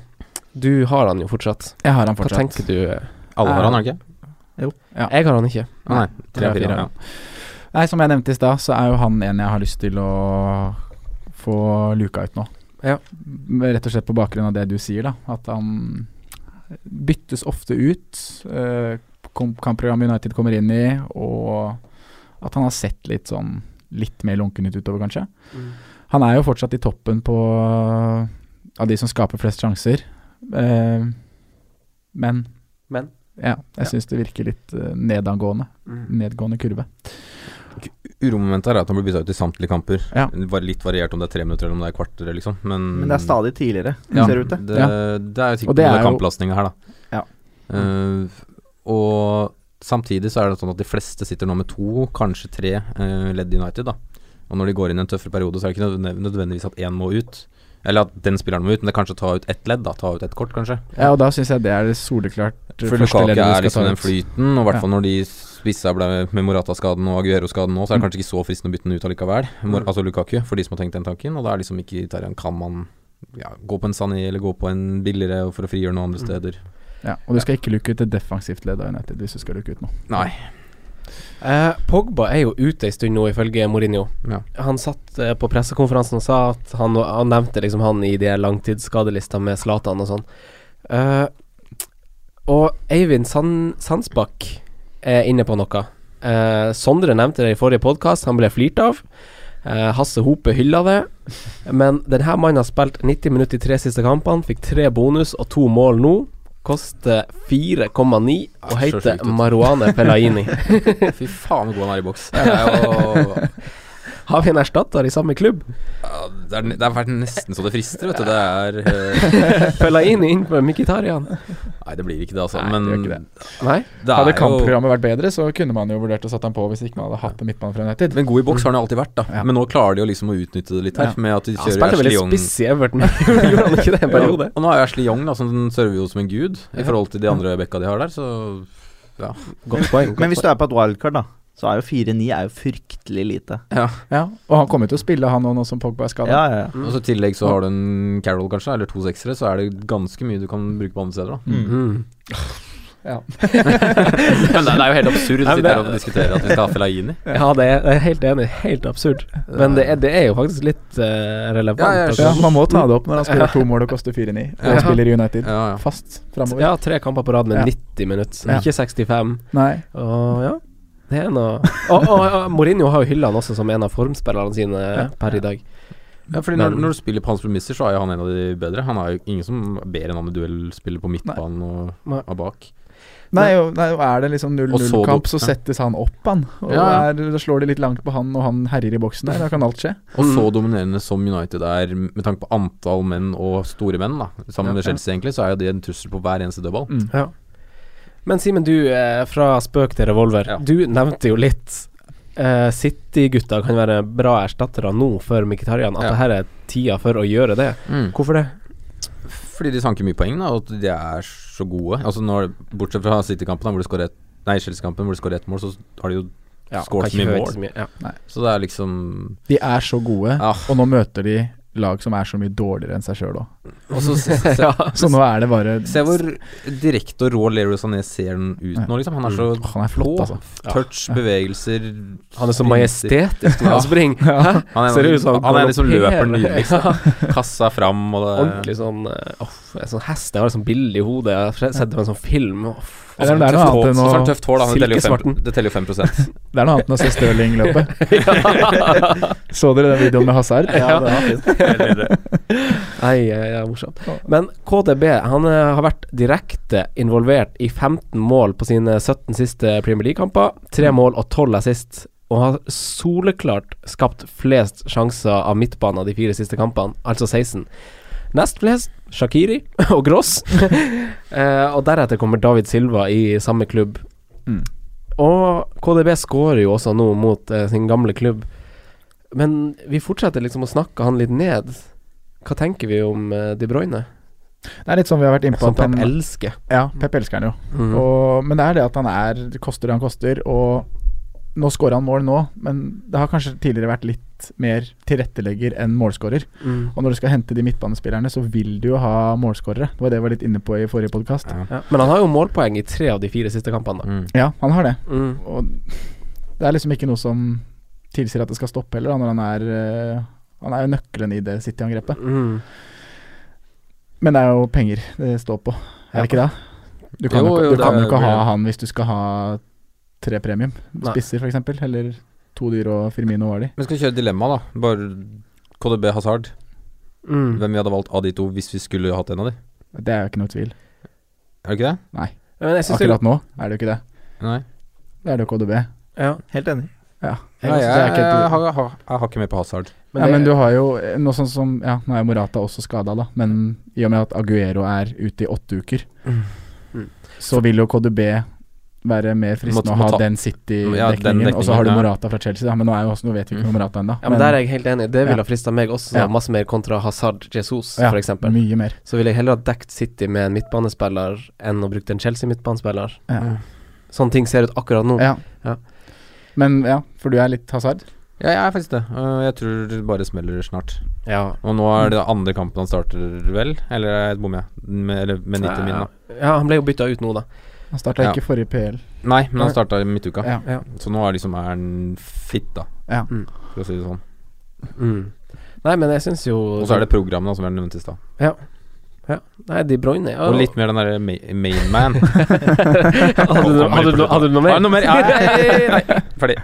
Speaker 2: Du har han jo fortsatt.
Speaker 4: Jeg har han
Speaker 2: Hva
Speaker 4: fortsatt.
Speaker 2: tenker du? eh,
Speaker 5: Alle har han, har de ikke?
Speaker 4: 啊
Speaker 2: Jeg har han ikke.
Speaker 5: Ah, nei, tre av
Speaker 4: Tre av
Speaker 5: fire.
Speaker 4: fire,
Speaker 5: Ja.
Speaker 4: Nei, som jeg nevnte i stad, så er jo han en jeg har lyst til å få luka ut nå.
Speaker 2: Ja.
Speaker 4: Rett og slett på bakgrunn av det du sier, da. At han byttes ofte ut. eh, kom- Kampprogram United kommer inn i, og at han har sett litt sånn litt mer lunken ut utover, kanskje.
Speaker 2: Mm.
Speaker 4: Han er jo fortsatt i toppen på av de som skaper flest sjanser. Eh, men
Speaker 2: Men? Mm.
Speaker 4: Ja, jeg synes syns det virker litt eh, nedangående. Nedgående kurve.
Speaker 5: Uromomentet her er at han blir bytta ut i samtlige kamper.
Speaker 4: Ja.
Speaker 5: Det var litt variert om det er tre minutter eller om det er kvarter, liksom. Men,
Speaker 3: Men det er stadig tidligere,
Speaker 4: Ja.
Speaker 3: ser det ut til.
Speaker 5: Det, det er jo
Speaker 4: Og
Speaker 5: sikkert noe
Speaker 4: det er
Speaker 5: med
Speaker 4: jo-
Speaker 5: kamplastninga her, da.
Speaker 3: Ja.
Speaker 5: Eh, og samtidig så er det sånn at de fleste sitter nå med to, kanskje tre eh, ledd i United, da. Og når de går inn i en tøffere periode, så er det ikke nødvendig- nødvendigvis at én må ut. Eller at den spilleren må ut, men det er kanskje å ta ut ett ledd, da. Ta ut ett kort, kanskje.
Speaker 4: Ja, og da syns jeg det er det soleklart eh,
Speaker 5: For
Speaker 4: første
Speaker 5: Lukaku
Speaker 4: leddet du
Speaker 5: er
Speaker 4: skal
Speaker 5: liksom
Speaker 4: ta
Speaker 5: den
Speaker 4: ut.
Speaker 5: flyten, og i
Speaker 4: Ja.
Speaker 5: hvert fall når de spissa ble med Morata-skaden og Aguero-skaden nå, så er det kanskje ikke så fristende å bytte den ut allikevel. Mor
Speaker 2: Mm.
Speaker 5: altså Lukaku, for de som har tenkt den tanken. Og da er liksom ikke Terran Kan man ja, gå på en Sané eller gå på en billigere for å frigjøre noen andre steder?
Speaker 4: Ja, og du skal ikke luke ut et defensivt ledd av United hvis du skal luke ut noe.
Speaker 5: Nei.
Speaker 2: Eh, Pogba er jo ute en stund nå, ifølge Mourinho.
Speaker 5: Ja.
Speaker 2: Han satt eh, på pressekonferansen og sa at han, var- han nevnte liksom han i de langtidsskadelista med Zlatan og sånn. Eh, og Eivind Sand Sandsbakk er inne på noe. Eh, Sondre nevnte det i forrige podkast, han ble flirt av. Eh, Hasse Hope hylla det. Men denne mannen har spilt 90 minutter i tre siste kampene, fikk tre bonus og to mål nå. Koster 4,9 og
Speaker 5: Ja, Ah, så
Speaker 2: heter
Speaker 5: sjukt ut.
Speaker 2: Marouane Fellaini.
Speaker 5: Fy faen, hvor god han er i boks. Det er jo
Speaker 2: Har vi en erstatter i samme klubb?
Speaker 5: Ja, det, er, det har vært nesten så det frister, vet du. Det er eh,
Speaker 2: Fellaini inn på Mkhitaryan.
Speaker 5: Nei, det blir ikke det, altså.
Speaker 2: Nei,
Speaker 5: Men
Speaker 2: det gjør ikke Nei?
Speaker 5: det er
Speaker 4: Hadde
Speaker 5: jo
Speaker 4: kampprogrammet vært bedre, så kunne man jo vurdert å sette han på hvis ikke man hadde hatt en midtbane fra United.
Speaker 5: Men god i boks har han jo alltid vært, da. Men nå klarer de jo liksom å utnytte det litt her,
Speaker 4: Ja.
Speaker 5: med at de
Speaker 2: Han
Speaker 5: kjører
Speaker 2: spilte veldig
Speaker 5: Ashley Young-
Speaker 2: spiss i Everton. Gjorde han ikke det en periode?
Speaker 5: Og nå er jo Ashley Young, da, som den server jo som en gud i forhold til de andre bekka de har der, så ja.
Speaker 2: Godt poeng.
Speaker 3: Men hvis du er på et wildcard, da, så er jo 4-9 er jo fryktelig lite.
Speaker 4: Ja, og han kommer jo til å spille, han òg, nå som Pogba er skada.
Speaker 3: Ja, ja, ja.
Speaker 5: Og så I tillegg så har du en Carol, kanskje, eller to seksere, så er det ganske mye du kan bruke på andre steder, da.
Speaker 2: Mm.
Speaker 5: Men det, det er jo helt absurd å
Speaker 2: Nei, men
Speaker 5: sitte her
Speaker 2: det-
Speaker 5: og diskutere at vi skal ha Fellaini.
Speaker 2: Ja, det er, jeg er helt enig. Helt absurd. Men det er, det er jo faktisk litt eh, relevant.
Speaker 5: Ja, jeg
Speaker 2: altså.
Speaker 4: Ja, man må ta det opp når han spiller to mål og koster 4-9, og
Speaker 5: Ja.
Speaker 4: spiller i United.
Speaker 5: Ja, ja.
Speaker 4: Fast framover.
Speaker 2: Mm. ja, tre kamper på rad med
Speaker 4: Ja.
Speaker 2: 90 minutter,
Speaker 4: Ja.
Speaker 2: ikke 65.
Speaker 4: Nei.
Speaker 2: Og ja, det er noe Og, og, og Mourinho har jo hylla han også som en av formspillerne sine per i dag.
Speaker 5: Ja, fordi når,
Speaker 2: Men-
Speaker 5: når du spiller på hans premisser, så er jo han en av de bedre. Han er jo ingen som er bedre enn han i duellspiller på midtbanen og,
Speaker 2: Nei.
Speaker 5: og bak.
Speaker 4: Nei, jo, nei, jo, er det liksom
Speaker 5: Og så det opp,
Speaker 4: 0-0-kamp, så
Speaker 5: ja.
Speaker 4: settes han opp, han. Og
Speaker 5: Ja,
Speaker 4: er, da slår de litt langt på han, og han herjer i boksen der. Da kan alt skje.
Speaker 5: Og så dominerende som United er, med tanke på antall menn og store menn, da. Sammen med
Speaker 4: Ja.
Speaker 5: Chelsea, egentlig, så er jo de en trussel på hver eneste dødball.
Speaker 4: Mm.
Speaker 2: Ja. Men Simen, du, eh, fra spøk til revolver.
Speaker 5: Ja.
Speaker 2: Du nevnte jo litt eh, City-gutta kan være bra erstattere nå for Mkhitarian. At
Speaker 5: Ja. Mm.
Speaker 2: det her er tida for å gjøre det. Hvorfor det?
Speaker 5: Fordi de sanker mye poeng, da, og at de er så gode. Altså når, Bortsett fra City-kampen, da, hvor de skårer ett Nei, Chelsea-kampen, hvor de skårer ett mål, så har de jo
Speaker 2: kan
Speaker 5: skåret så
Speaker 2: ikke
Speaker 5: mye
Speaker 2: forvente
Speaker 5: mål.
Speaker 2: så mye. Ja.
Speaker 5: Så det er liksom
Speaker 4: De er så gode,
Speaker 5: Ja.
Speaker 4: og nå møter de lag som er så mye dårligere enn seg sjøl òg.
Speaker 5: Og så se, se,
Speaker 4: Så nå er det bare
Speaker 5: se hvor direkte og rå Leroy Sané ser den ut nå, liksom. Han er så
Speaker 4: Åh, Han er flott,
Speaker 5: på.
Speaker 4: altså.
Speaker 5: Touch, bevegelser
Speaker 2: Han er så
Speaker 5: sprinter.
Speaker 2: majestetisk når
Speaker 5: Ja.
Speaker 2: han springer. Hæ?
Speaker 5: Han er,
Speaker 2: Ser ut som han
Speaker 5: han er liksom
Speaker 2: galopperer.
Speaker 5: løperen nydelig, liksom. Kassa fram og det
Speaker 2: Ordentlig sånn eh, åff, En sånn hest. Jeg har et sånt bilde i hodet. Jeg har sett det på en sånn film. åff.
Speaker 4: Eller det er noe annet enn
Speaker 5: Så
Speaker 4: å,
Speaker 5: har han tøft hår, da. Det teller jo fem-
Speaker 2: Silkesvarten.
Speaker 5: Det teller jo 5
Speaker 4: det er noe annet enn å se Stirling løpe. Så dere den videoen med Hazard?
Speaker 3: Ja, det var fint.
Speaker 2: Nei, eh, ja, morsomt. Men KDB han eh, har vært direkte involvert i 15 mål på sine 17 siste Premier League-kamper. Tre mål og tolv assist. Og har soleklart skapt flest sjanser av midtbanen av de fire siste kampene, altså 16. Nest flest Shakiri og Gross. Eh, og deretter kommer David Silva i samme klubb.
Speaker 4: Mm.
Speaker 2: Og KDB skårer jo også nå mot eh, sin gamle klubb. Men vi fortsetter liksom å snakke han litt ned. Hva tenker vi om eh, De Bruyne?
Speaker 4: Det er litt sånn vi har vært innpå.
Speaker 2: Som
Speaker 4: at
Speaker 2: Pep Mm.
Speaker 4: han-
Speaker 2: elsker.
Speaker 4: Ja, Pep elsker han jo. Og, men det er det at han er det koster det han koster, og nå scorer han mål nå, men det har kanskje tidligere vært litt mer tilrettelegger enn målscorer.
Speaker 2: Mm.
Speaker 4: Og når du skal hente de midtbanespillerne, så vil du jo ha målscorere. Det var det jeg var litt inne på i forrige podkast.
Speaker 5: Ja.
Speaker 2: Ja. Men han har jo målpoeng i tre av de fire siste kampene. da.
Speaker 5: Mm.
Speaker 4: Ja, han har det.
Speaker 2: Mm.
Speaker 4: Og det er liksom ikke noe som tilsier at det skal stoppe heller, da, når han er øh, Han er jo nøkkelen i det City-angrepet.
Speaker 2: Mm.
Speaker 4: Men det er jo penger det står på, er det ikke det? Du kan
Speaker 5: Jo,
Speaker 4: jo,
Speaker 5: jo,
Speaker 4: ikke- du
Speaker 5: det
Speaker 4: kan
Speaker 5: er-
Speaker 4: jo ikke ha
Speaker 5: ja.
Speaker 4: han hvis du skal ha tre premium.
Speaker 2: Nei.
Speaker 4: Spisser, for eksempel Eller to dyr og Firmino var de.
Speaker 5: Men skal vi kjøre dilemma, da? Bare KDB Hazard.
Speaker 2: Mm.
Speaker 5: Hvem vi hadde valgt av de to hvis vi skulle hatt en av de?
Speaker 4: Det er jo ikke noe tvil.
Speaker 5: Er det ikke det?
Speaker 2: Men jeg syns det,
Speaker 4: Akkurat nå er det jo ikke det.
Speaker 5: Nei.
Speaker 4: Det er det jo KDB.
Speaker 2: ja.
Speaker 3: Helt enig.
Speaker 4: Ja.
Speaker 2: Jeg synes
Speaker 5: Nei, jeg,
Speaker 2: det er
Speaker 5: jeg,
Speaker 2: ikke et-
Speaker 5: har- har- jeg har ikke med på Hazard.
Speaker 4: Men,
Speaker 2: det-
Speaker 4: ja, men du har jo eh, noe sånn som Ja, nå er jo Morata også skada, da, men i og med at Aguero er ute i åtte uker,
Speaker 2: Mm. Mm.
Speaker 4: så vil jo KDB være mer
Speaker 5: Må-
Speaker 4: fristende
Speaker 5: må ta-
Speaker 4: å ha den
Speaker 5: Ja, den
Speaker 4: City-dekningen, og så
Speaker 5: dekningen,
Speaker 4: har du
Speaker 5: ja.
Speaker 4: Morata fra Chelsea, da, men nå, er jo, også- nå vet vi ikke om Morata ennå.
Speaker 2: Ja, men Der er jeg helt enig. Det ville ha frista meg også,
Speaker 4: Ja.
Speaker 2: masse mer kontra Hazard Jesus,
Speaker 4: ja, Mm.
Speaker 2: for eksempel
Speaker 4: mye mer.
Speaker 2: Så ville jeg heller ha dekt City med en midtbanespiller enn å bruke en Chelsea-midtbanespiller.
Speaker 4: Ja.
Speaker 2: Sånne ting ser ut akkurat nå.
Speaker 4: Ja.
Speaker 2: Ja.
Speaker 4: Men ja, for du er litt hasard?
Speaker 5: Ja, jeg er faktisk det. Øh, Jeg tror det bare smeller snart.
Speaker 2: Ja.
Speaker 5: Og nå er det andre kampen han starter, vel? Eller bommer jeg? Med, eller med 90 min, da.
Speaker 2: Ja, han ble jo bytta ut nå, da.
Speaker 4: Han starta
Speaker 5: Ja.
Speaker 4: ikke forrige PL.
Speaker 5: Nei, men han starta i midtuka.
Speaker 4: Ja.
Speaker 2: Ja.
Speaker 5: Så nå er liksom er han fit, da.
Speaker 4: Ja.
Speaker 2: Mm.
Speaker 5: For å si det sånn.
Speaker 2: Mm. Nei, men jeg syns jo
Speaker 5: Og så er det programmet da, som jeg nevnte i stad.
Speaker 2: Nei, De Bruyne ja.
Speaker 5: Og litt mer den derre ma- main man.
Speaker 2: hadde, du, hadde, du, hadde du noe mer?
Speaker 5: Har du noe mer? Ja, nei, nei, nei. Ferdig.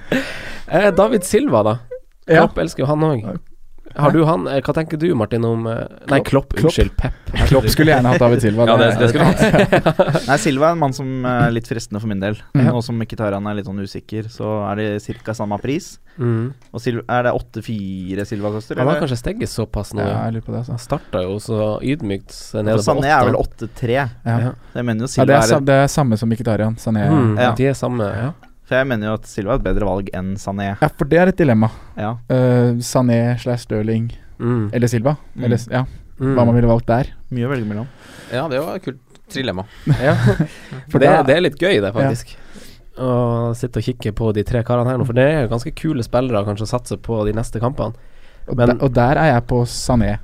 Speaker 2: Eh, David Silva, da.
Speaker 4: Ja.
Speaker 2: Klopp elsker jo han òg. Har du han eh, Hva tenker du, Martin, om eh, Nei, Klopp.
Speaker 4: Klopp.
Speaker 2: Unnskyld, Pep.
Speaker 4: Klopp skulle gjerne hatt David Silva.
Speaker 5: Ja, det- det skulle
Speaker 3: Nei, Silva er en mann som eh, er litt fristende for min del.
Speaker 4: Mhm.
Speaker 3: Nå som Mkhitaryan er litt sånn usikker, så er det ca. samme pris.
Speaker 2: Mm.
Speaker 3: Og Silva, er det 8-4 Silva koster?
Speaker 2: Han har
Speaker 3: eller?
Speaker 2: kanskje steget såpass nå.
Speaker 4: Ja,
Speaker 2: Ja.
Speaker 4: jeg lurer på det. Altså.
Speaker 2: Starta jo så ydmykt s-
Speaker 3: For
Speaker 2: nede på
Speaker 3: Sané sånn er vel
Speaker 2: åtta.
Speaker 3: 8-3.
Speaker 4: Ja.
Speaker 3: Så Jeg mener jo
Speaker 4: Ja,
Speaker 3: Silva
Speaker 4: det, er,
Speaker 3: er
Speaker 4: sam- det er samme som Mkhitarian. Sané.
Speaker 2: Mm,
Speaker 3: Ja.
Speaker 2: De er samme. Ja.
Speaker 3: For jeg mener jo at Silva er et bedre valg enn Sané.
Speaker 4: Ja, for det er et dilemma.
Speaker 3: Ja.
Speaker 4: Eh, Sané slash Stirling
Speaker 2: Mm.
Speaker 4: eller Silva.
Speaker 3: Mm.
Speaker 4: Eller, ja,
Speaker 2: Mm.
Speaker 4: Hva man ville valgt der.
Speaker 3: Mye å velge mellom.
Speaker 5: Ja, det var et kult trilemma.
Speaker 2: Ja. For det,
Speaker 4: da-
Speaker 2: det er litt gøy, det, faktisk. Å sitte og kikke på de tre karene her nå, for det er jo ganske kule spillere kanskje å satse på de neste kampene.
Speaker 4: Og,
Speaker 2: Men-
Speaker 4: der, og der er jeg på Sané,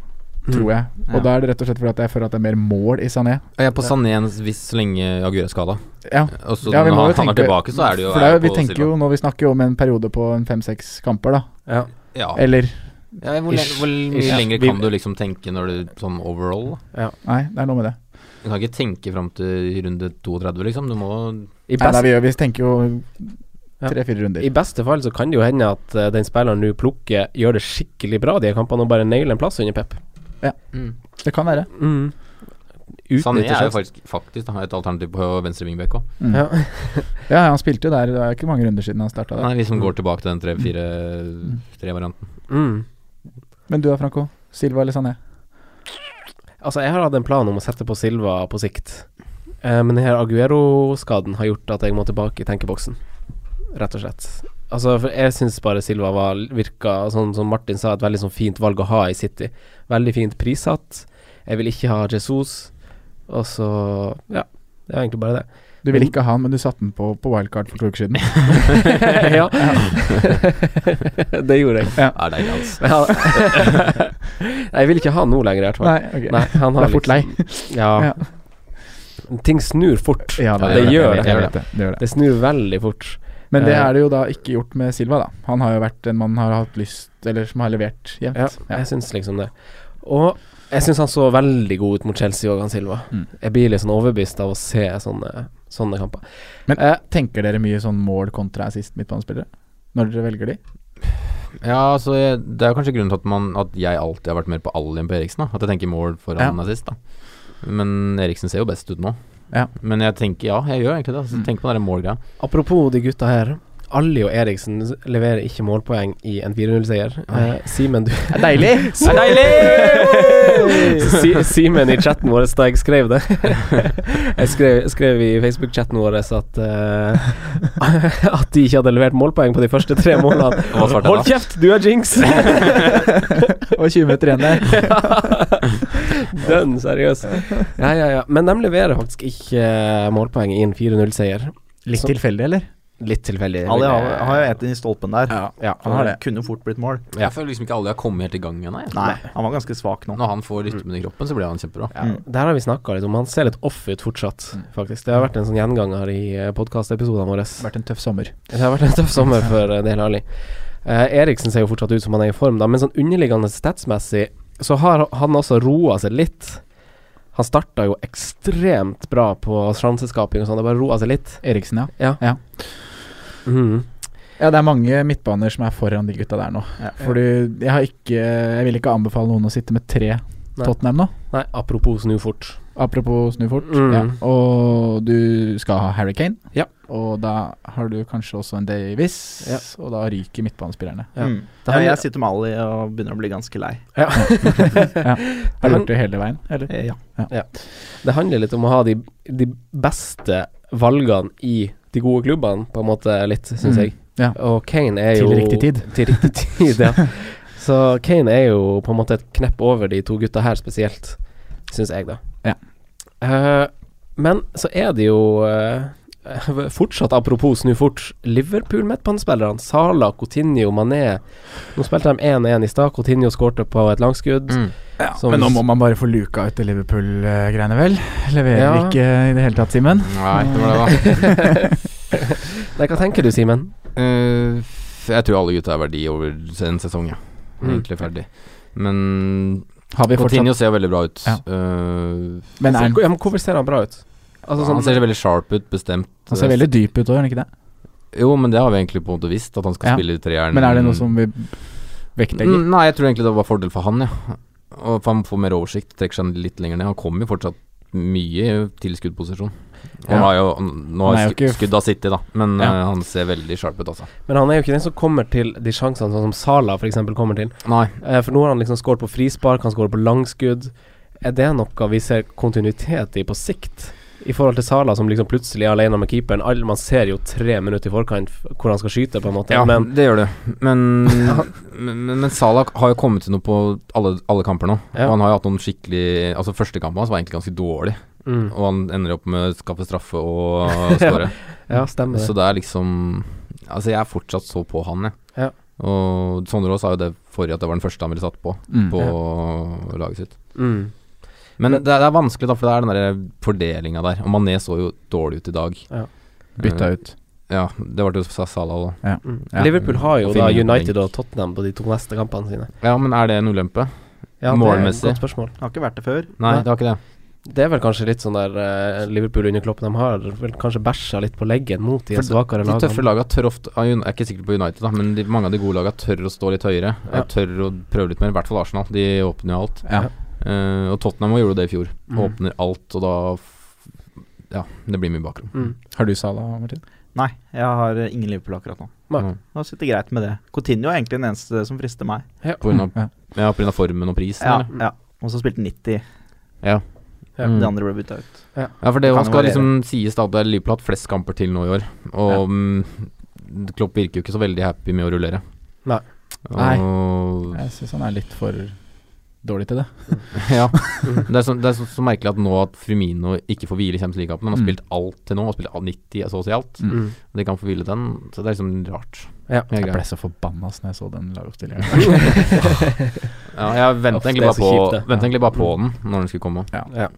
Speaker 4: tror jeg. Og
Speaker 3: Ja.
Speaker 4: da er det rett og slett fordi at jeg føler at det er mer mål i Sané.
Speaker 5: Jeg er på Sané en hvis så lenge Agur er skada.
Speaker 4: Ja,
Speaker 5: Og så
Speaker 4: Ja,
Speaker 5: når
Speaker 4: vi må
Speaker 5: han,
Speaker 4: jo
Speaker 5: han er
Speaker 4: tenke-
Speaker 5: tilbake, så er det jo
Speaker 4: for det er, jo-
Speaker 5: jeg
Speaker 4: vi
Speaker 5: på
Speaker 4: tenker
Speaker 5: Silva.
Speaker 4: jo nå Vi snakker jo om en periode på en fem-seks kamper, da.
Speaker 2: Ja.
Speaker 5: ja.
Speaker 4: Eller
Speaker 5: ja, Hvor, le-
Speaker 4: Ish.
Speaker 5: hvor
Speaker 4: Ish.
Speaker 5: mye lenger
Speaker 4: Vi-
Speaker 5: kan du liksom tenke når du sånn overall? da?
Speaker 4: Nei, det er noe med det.
Speaker 5: Du kan ikke tenke fram til runde 32, liksom. Du må
Speaker 2: I,
Speaker 4: Nei,
Speaker 2: best,
Speaker 4: nei, vi, gjør, vi tenker jo
Speaker 2: Ja.
Speaker 4: tre-fire runder.
Speaker 2: I beste fall så kan det jo hende at eh, den spilleren du plukker, gjør det skikkelig bra de her kampene og bare nailer en plass under Pep.
Speaker 4: Det kan være.
Speaker 2: Mm. Utnytter
Speaker 5: Sané Sånn er jo
Speaker 2: sjansen.
Speaker 5: faktisk, faktisk da, et alternativ på venstre vingbekk òg.
Speaker 4: Mm.
Speaker 2: Ja.
Speaker 4: Ja. han spilte jo der. Det er ikke mange runder siden han starta der.
Speaker 5: Nei, vi som liksom går tilbake til den 3-4-3-varianten.
Speaker 2: Mm.
Speaker 4: Men du da, Franco? Silva eller Sané?
Speaker 2: Altså, jeg har hatt en plan om å sette på Silva på sikt, eh, men den her Aguero-skaden har gjort at jeg må tilbake i tenkeboksen, rett og slett. Altså, for jeg syns bare Silva var, virka, sånn som Martin sa, et veldig sånn fint valg å ha i City. Veldig fint prissatt. Jeg vil ikke ha Jesus, og så Ja, det er egentlig bare det.
Speaker 4: Du ville ikke ha han, men du satte den på på wildcard for to uker siden.
Speaker 2: ja. det gjorde jeg.
Speaker 5: Er det deilig, altså.
Speaker 2: Ja. Nei, jeg vil ikke ha han nå lenger, i hvert fall.
Speaker 4: Nei, ok.
Speaker 2: Nei, han har
Speaker 4: Det er fort lei.
Speaker 2: liksom- Ja.
Speaker 4: Ja.
Speaker 2: Ting snur fort.
Speaker 4: Ja,
Speaker 5: det gjør det,
Speaker 4: Jeg
Speaker 5: det gjør
Speaker 4: vet det. det, gjør det.
Speaker 2: Det snur veldig fort.
Speaker 4: Men det
Speaker 2: Eh.
Speaker 4: er det jo da ikke gjort med Silva, da. Han har jo vært en mann har hatt lyst, eller som har levert jevnt.
Speaker 2: Ja, jeg syns liksom det. Og jeg syns han så veldig god ut mot Chelsea og han Silva.
Speaker 4: Mm.
Speaker 2: Jeg blir litt sånn overbevist av å se sånne, sånne kamper.
Speaker 4: Men eh, tenker dere mye sånn mål kontra assist midtbanespillere? Når dere velger de?
Speaker 5: Ja, så jeg, Det er jo kanskje grunnen til at, man, at jeg alltid har vært mer på all enn på Eriksen. Da. At jeg tenker mål foran assist. Da. Men Eriksen ser jo best ut nå.
Speaker 4: Ja.
Speaker 5: Men jeg tenker ja, jeg gjør egentlig det. Altså,
Speaker 4: Mm.
Speaker 5: Tenk på den der målgreia.
Speaker 2: Apropos de gutta her. Ali og Eriksen s- leverer ikke målpoeng i en 4-0-seier. Eh, Simen, du
Speaker 4: Det er deilig!
Speaker 2: Det er deilig! Si- Simen i chatten vår da jeg skrev det. Jeg skrev, skrev i Facebook-chatten vår at eh, At de ikke hadde levert målpoeng på de første tre målene.
Speaker 5: Hva svarte jeg da?
Speaker 2: Hold kjeft, du er jinx!
Speaker 4: Og 20 meter igjen der.
Speaker 2: Dønn seriøs. Ja, ja, ja. Men de leverer faktisk ikke eh, målpoeng i en 4-0-seier.
Speaker 4: Litt
Speaker 2: Så-
Speaker 4: tilfeldig, eller?
Speaker 2: Litt tilfeldig. vil
Speaker 3: Ali har,
Speaker 2: jeg-
Speaker 3: har jo ett inn i stolpen der.
Speaker 2: Ja.
Speaker 3: Han har det. Kunne jo fort blitt mål.
Speaker 5: Jeg føler liksom ikke alle har kommet helt i gang ennå. jeg.
Speaker 3: Han var ganske svak nå.
Speaker 5: Når han får rytmen i kroppen, så blir han kjempebra.
Speaker 2: Ja, eh, Der har vi snakka litt om Han ser litt off ut fortsatt, faktisk. Det har vært en sånn gjenganger i podkastepisodene våre.
Speaker 4: Vært en tøff sommer.
Speaker 2: Det har vært en tøff sommer for eh, Dele Alli. Eh, Eriksen ser jo fortsatt ut som han er i form, da, men sånn underliggende statsmessig så har han også roa seg litt. Han starta jo ekstremt bra på sjanseskaping og sånn, det bare roa seg litt.
Speaker 4: Eriksen, ja.
Speaker 2: Mhm.
Speaker 4: Ja, det er mange midtbaner som er foran de gutta der nå.
Speaker 3: Ja.
Speaker 4: Fordi jeg har ikke Jeg vil ikke anbefale noen å sitte med tre Tottenham nå.
Speaker 2: Nei, apropos snu fort.
Speaker 4: Apropos snu fort.
Speaker 2: Mm.
Speaker 4: Ja. Og du skal ha Harry Kane.
Speaker 2: Ja.
Speaker 4: Og da har du kanskje også en Davies,
Speaker 2: Ja.
Speaker 4: og da ryker midtbanespillerne.
Speaker 2: Ja.
Speaker 3: Mm.
Speaker 2: Da
Speaker 3: Ja,
Speaker 2: har vi-
Speaker 3: jeg sitter med Ali og begynner å bli ganske lei.
Speaker 2: Ja.
Speaker 4: Har du gjort det hele veien, eller?
Speaker 3: Eh, Ja.
Speaker 2: Det handler litt om å ha de, de beste valgene i de gode klubbene, på en måte, litt, syns
Speaker 4: Mm.
Speaker 2: jeg.
Speaker 4: Ja.
Speaker 2: Og Kane er
Speaker 4: Til
Speaker 2: jo
Speaker 4: riktig tid.
Speaker 2: Til riktig tid, ja. Så Kane er jo på en måte et knepp over de to gutta her spesielt, syns jeg, da.
Speaker 4: Ja.
Speaker 2: Eh, men så er det jo eh, fortsatt, apropos snu fort, Liverpool midtbanespillerne. Sala, Coutinho, Mané. Nå spilte de 1-1 i stad. Coutinho skårte på et langskudd.
Speaker 5: Mm.
Speaker 2: som-
Speaker 4: Men nå må man bare få luka ut det Liverpool-greiene, vel? Leverer
Speaker 2: Ja.
Speaker 4: ikke i det hele tatt, Simen.
Speaker 5: Nei, det var det, da.
Speaker 2: Nei, hva tenker du, Simen?
Speaker 5: Eh, jeg tror alle gutta er verdi over en sesong, ja.
Speaker 2: Mm.
Speaker 5: Egentlig ferdig. Men
Speaker 4: Har vi fortsatt
Speaker 5: Coutinho ser veldig bra ut.
Speaker 4: Ja.
Speaker 5: Eh,
Speaker 4: Men er han,
Speaker 2: Altså, ja, men hvorfor ser han bra ut? Altså,
Speaker 5: han
Speaker 2: sånn,
Speaker 5: ser veldig sharp ut, bestemt.
Speaker 4: han ser veldig dyp ut òg, gjør han ikke det?
Speaker 5: Jo, men det har vi egentlig på en måte visst, at han skal
Speaker 4: Ja.
Speaker 5: spille i treeren.
Speaker 4: Men er det noe som vi vektlegger.
Speaker 5: Mm, Nei, jeg tror egentlig det var fordel for han, ja. Og for han får mer oversikt, trekker seg litt lenger ned. Han kommer jo fortsatt mye til skuddposisjon. Han
Speaker 2: Ja.
Speaker 5: har jo, nå
Speaker 2: Han
Speaker 5: har
Speaker 2: er jo
Speaker 5: sk-
Speaker 2: ikke f-
Speaker 5: skudda sitt i, da, men
Speaker 2: Ja.
Speaker 5: eh, han ser veldig sharp ut, altså.
Speaker 2: Men han er jo ikke den som kommer til de sjansene sånn som Sala f.eks. kommer til.
Speaker 5: Nei.
Speaker 2: Eh, For nå har han liksom skåret på frispark, han skårer på langskudd. Er det noe vi ser kontinuitet i på sikt? I forhold til Sala, som liksom plutselig er alene med keeperen. All, man ser jo tre minutter i forkant f- hvor han skal skyte, på en måte.
Speaker 5: Ja,
Speaker 2: Men
Speaker 5: det gjør du. Men, men, men Salah har jo kommet til noe på alle, alle kamper nå.
Speaker 2: Ja.
Speaker 5: Og han har jo hatt noen skikkelig Altså Første kampen hans var egentlig ganske dårlig.
Speaker 2: Mm.
Speaker 5: Og han ender opp med å skaffe straffe og skåre.
Speaker 2: Ja, stemmer det.
Speaker 5: Så det er liksom Altså jeg er fortsatt så på han, jeg.
Speaker 2: Ja.
Speaker 5: Og Sondre Aas sa jo det forrige, at det var den første han ville satt på
Speaker 4: Mm.
Speaker 5: på laget sitt.
Speaker 2: Mm.
Speaker 5: Men det, er- det er vanskelig, da, for det er den der fordelinga der. Og Mané så jo dårlig ut i dag.
Speaker 2: Ja.
Speaker 4: Bytta ut.
Speaker 5: Ja, det var det jo Salah da.
Speaker 2: mm.
Speaker 4: Ja.
Speaker 2: Liverpool har jo
Speaker 5: Og
Speaker 2: da
Speaker 5: Firmino på
Speaker 2: United og Tottenham på de to neste kampene sine.
Speaker 5: Ja, men er det en ulempe?
Speaker 2: Ja, det er et
Speaker 5: Målmessig.
Speaker 2: godt spørsmål.
Speaker 3: Har ikke vært det før.
Speaker 5: Nei,
Speaker 2: Nei.
Speaker 5: det var ikke det.
Speaker 2: Det er vel kanskje litt sånn der eh, Liverpool under kloppen de har vel kanskje bæsja litt på leggen mot de
Speaker 5: For
Speaker 2: svakere
Speaker 5: De tøffe
Speaker 2: lagene.
Speaker 5: laga tør ofte ah, Uni- Jeg er ikke sikker på United, da, men de, mange av de gode laga tør å stå litt høyere.
Speaker 2: Ja.
Speaker 5: Og Tør å prøve litt mer, i hvert fall Arsenal. De åpner jo alt.
Speaker 4: Ja.
Speaker 5: Eh, og Tottenham også gjorde det i fjor.
Speaker 2: Mm.
Speaker 5: Åpner alt, og da f- Ja, det blir mye bakrom.
Speaker 2: Mm.
Speaker 4: Har du Sala, Martin?
Speaker 3: Nei, jeg har eh, ingen Liverpool akkurat nå.
Speaker 2: Nei.
Speaker 5: Mm.
Speaker 3: Nå sitter det greit med det. Coutinho er egentlig den eneste som frister meg.
Speaker 5: På grunn av,
Speaker 4: Ja.
Speaker 5: ja, på grunn av formen og prisen.
Speaker 3: Ja,
Speaker 5: eller?
Speaker 3: ja. Og så spilte han 90.
Speaker 2: Ja.
Speaker 5: Mm.
Speaker 3: De andre ble bytta ut.
Speaker 5: Ja, for det
Speaker 3: Kan
Speaker 5: man
Speaker 3: jo
Speaker 5: skal
Speaker 3: variere.
Speaker 5: liksom sies da at det er Liverpool har hatt flest kamper til nå i år. Og
Speaker 3: Ja.
Speaker 5: mm, Klopp virker jo ikke så veldig happy med å rullere.
Speaker 2: Nei.
Speaker 5: Og,
Speaker 4: Nei. Jeg syns han er litt for dårlig til det.
Speaker 5: ja. Det er, så, det er så, så merkelig at nå at Firmino ikke får hvile i Champions League-kampen. Han har
Speaker 4: Mm.
Speaker 5: spilt alt til nå, han har spilt 90 så å si alt.
Speaker 4: Mm.
Speaker 2: Mm.
Speaker 5: Og de kan få hvile den, så det er liksom rart.
Speaker 2: Ja.
Speaker 5: Det er
Speaker 4: Jeg
Speaker 5: greit.
Speaker 4: ble så forbanna ass, når jeg så den lagoppstillinga.
Speaker 5: Ja, jeg
Speaker 2: Uff,
Speaker 5: venter
Speaker 2: det
Speaker 5: egentlig
Speaker 2: er
Speaker 5: bare
Speaker 2: så
Speaker 5: på,
Speaker 2: kjipt, det.
Speaker 5: ventet
Speaker 2: Ja.
Speaker 5: egentlig bare på den når den skulle komme.
Speaker 2: Ja.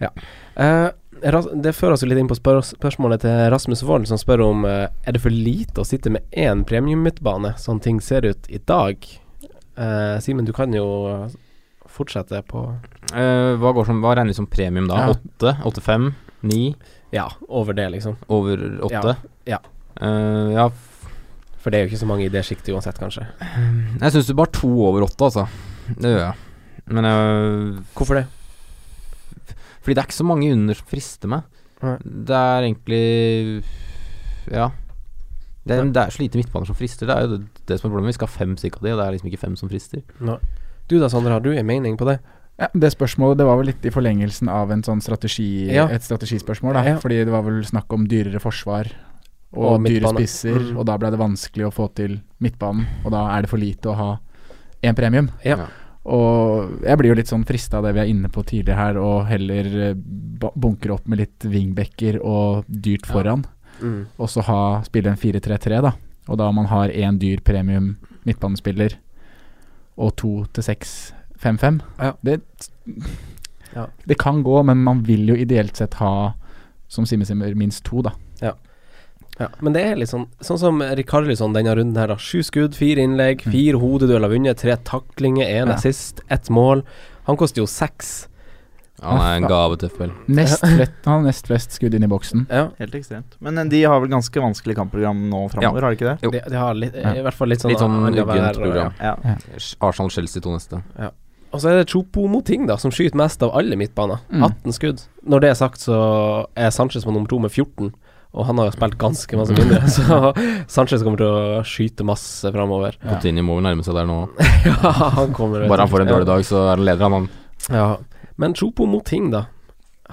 Speaker 2: ja. Eh, ras- det fører oss jo litt inn på spør spørsmålet til Rasmus Wold, som spør om eh, Er det for lite å sitte med én premium-midtbane, sånn ting ser ut i dag? Eh, Simen, du kan jo eh, fortsette på
Speaker 5: Eh, hva, går som, hva regnes som premium da?
Speaker 4: Ja.
Speaker 5: Åtte? Åtte-fem? Ni?
Speaker 2: Ja, over det, liksom.
Speaker 5: Over åtte?
Speaker 2: Ja.
Speaker 5: Eh, ja, f-
Speaker 2: For det er jo ikke så mange i det sjiktet uansett, kanskje.
Speaker 5: jeg syns det bare to over åtte, altså. Det gjør jeg. Men eh,
Speaker 2: Hvorfor det?
Speaker 5: Fordi det er ikke så mange under som frister meg.
Speaker 2: Nei.
Speaker 5: Det er egentlig Ja. Det er, det er så lite midtbaner som frister. Det er jo det, det som er problemet. Vi skal ha fem stykker av de, og det er liksom ikke fem som frister.
Speaker 2: Du da, Sondre, har du en mening på det?
Speaker 4: Ja, det spørsmålet det var vel litt i forlengelsen av en sånn strategi,
Speaker 2: Ja.
Speaker 4: et strategispørsmål. Da.
Speaker 2: Ja.
Speaker 4: Fordi det var vel snakk om dyrere forsvar og,
Speaker 2: Og
Speaker 4: dyre
Speaker 2: midtbane.
Speaker 4: spisser.
Speaker 2: Mm.
Speaker 4: Og da ble det vanskelig å få til midtbanen, og da er det for lite å ha én premium.
Speaker 2: Ja.
Speaker 5: Ja.
Speaker 4: Og jeg blir jo litt sånn frista av det vi er inne på tidligere her, og heller eh, ba- bunkre opp med litt wingbacker og dyrt
Speaker 5: Ja.
Speaker 4: foran.
Speaker 2: Mm.
Speaker 4: og så ha, spille en 4-3-3, da. Og da man har én dyr premium midtbanespiller og to til seks 5-5.
Speaker 2: Ja.
Speaker 4: Det,
Speaker 2: Ja.
Speaker 4: det kan gå, men man vil jo ideelt sett ha, som Simen sier, minst to, da.
Speaker 2: Ja, men det er litt sånn Sånn som Rikarlisson denne runden her, da. Sju skudd, fire innlegg, fire hodedueller vunnet, tre taklinger, én
Speaker 4: Ja.
Speaker 2: assist, ett mål. Han koster jo seks.
Speaker 5: Ja, han er en gave til FPL.
Speaker 4: Nest flest, han har nest flest skudd inn i boksen.
Speaker 2: Ja,
Speaker 3: Helt ekstremt. Men eh, de har vel ganske vanskelig kampprogram nå framover, har de ikke det?
Speaker 5: Jo.
Speaker 2: det, det har litt,
Speaker 4: Ja.
Speaker 2: i hvert fall litt sånn
Speaker 5: Litt sånn
Speaker 2: annenhver-
Speaker 5: uggent program.
Speaker 3: Ja.
Speaker 5: Arsenal-Chelsea to neste.
Speaker 2: Og så er det Chopo Moting, da, som skyter mest av alle midtbaner.
Speaker 4: Mm.
Speaker 2: 18 skudd. Når det er sagt, så er Sanchez på nummer to med 14. Og han har jo spilt ganske masse mindre, så Sanchez kommer til å skyte masse framover.
Speaker 4: Ja.
Speaker 5: Coutinho må vel nærme seg der nå.
Speaker 2: Ja, han kommer
Speaker 5: Bare han får en dårlig dag, så er han leder, han. han.
Speaker 2: Ja, men Chopo Moting da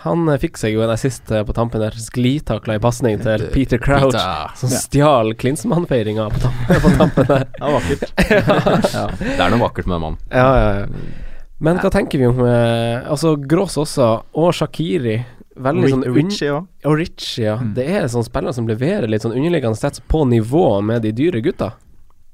Speaker 2: Han eh, fikk seg jo en assist eh, på tampen der Sklitakla i passning til Peter Crouch
Speaker 5: Eh, Peter.
Speaker 2: Som stjal Klinsmann-feiringa på, tam på tampen der
Speaker 3: Det var vakkert.
Speaker 5: Det er noe vakkert med den mannen.
Speaker 2: Ja, ja, ja Men hva tenker vi om eh, Altså Grås også Og Shaqiri Veldig sånn un-
Speaker 3: Richie òg.
Speaker 2: Og Richie, ja
Speaker 4: Mm.
Speaker 2: Det er sånn spillere som leverer litt sånn underliggende stats På nivå med de dyre gutta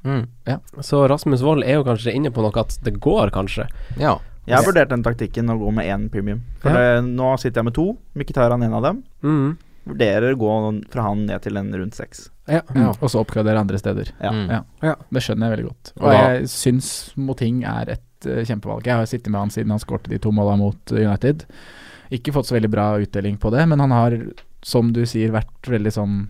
Speaker 4: Ja.
Speaker 2: Så Rasmus Wold er jo kanskje inne på noe At det går kanskje
Speaker 5: Ja.
Speaker 3: Jeg har vurdert den taktikken å gå med én premium. For det, nå sitter jeg med to. Mkhitaran en av dem.
Speaker 2: Mhm.
Speaker 3: Vurderer å gå fra han ned til en rundt seks.
Speaker 2: ja.
Speaker 4: Mm. Og så oppgradere andre steder.
Speaker 3: Ja.
Speaker 5: Mm.
Speaker 4: Ja. Det skjønner jeg veldig godt. Og
Speaker 5: Og da-
Speaker 4: jeg syns Moting er et eh, kjempevalg. Jeg har sittet med han siden han skårte de to måla mot eh, United. Ikke fått så veldig bra utdeling på det, men han har, som du sier, vært veldig sånn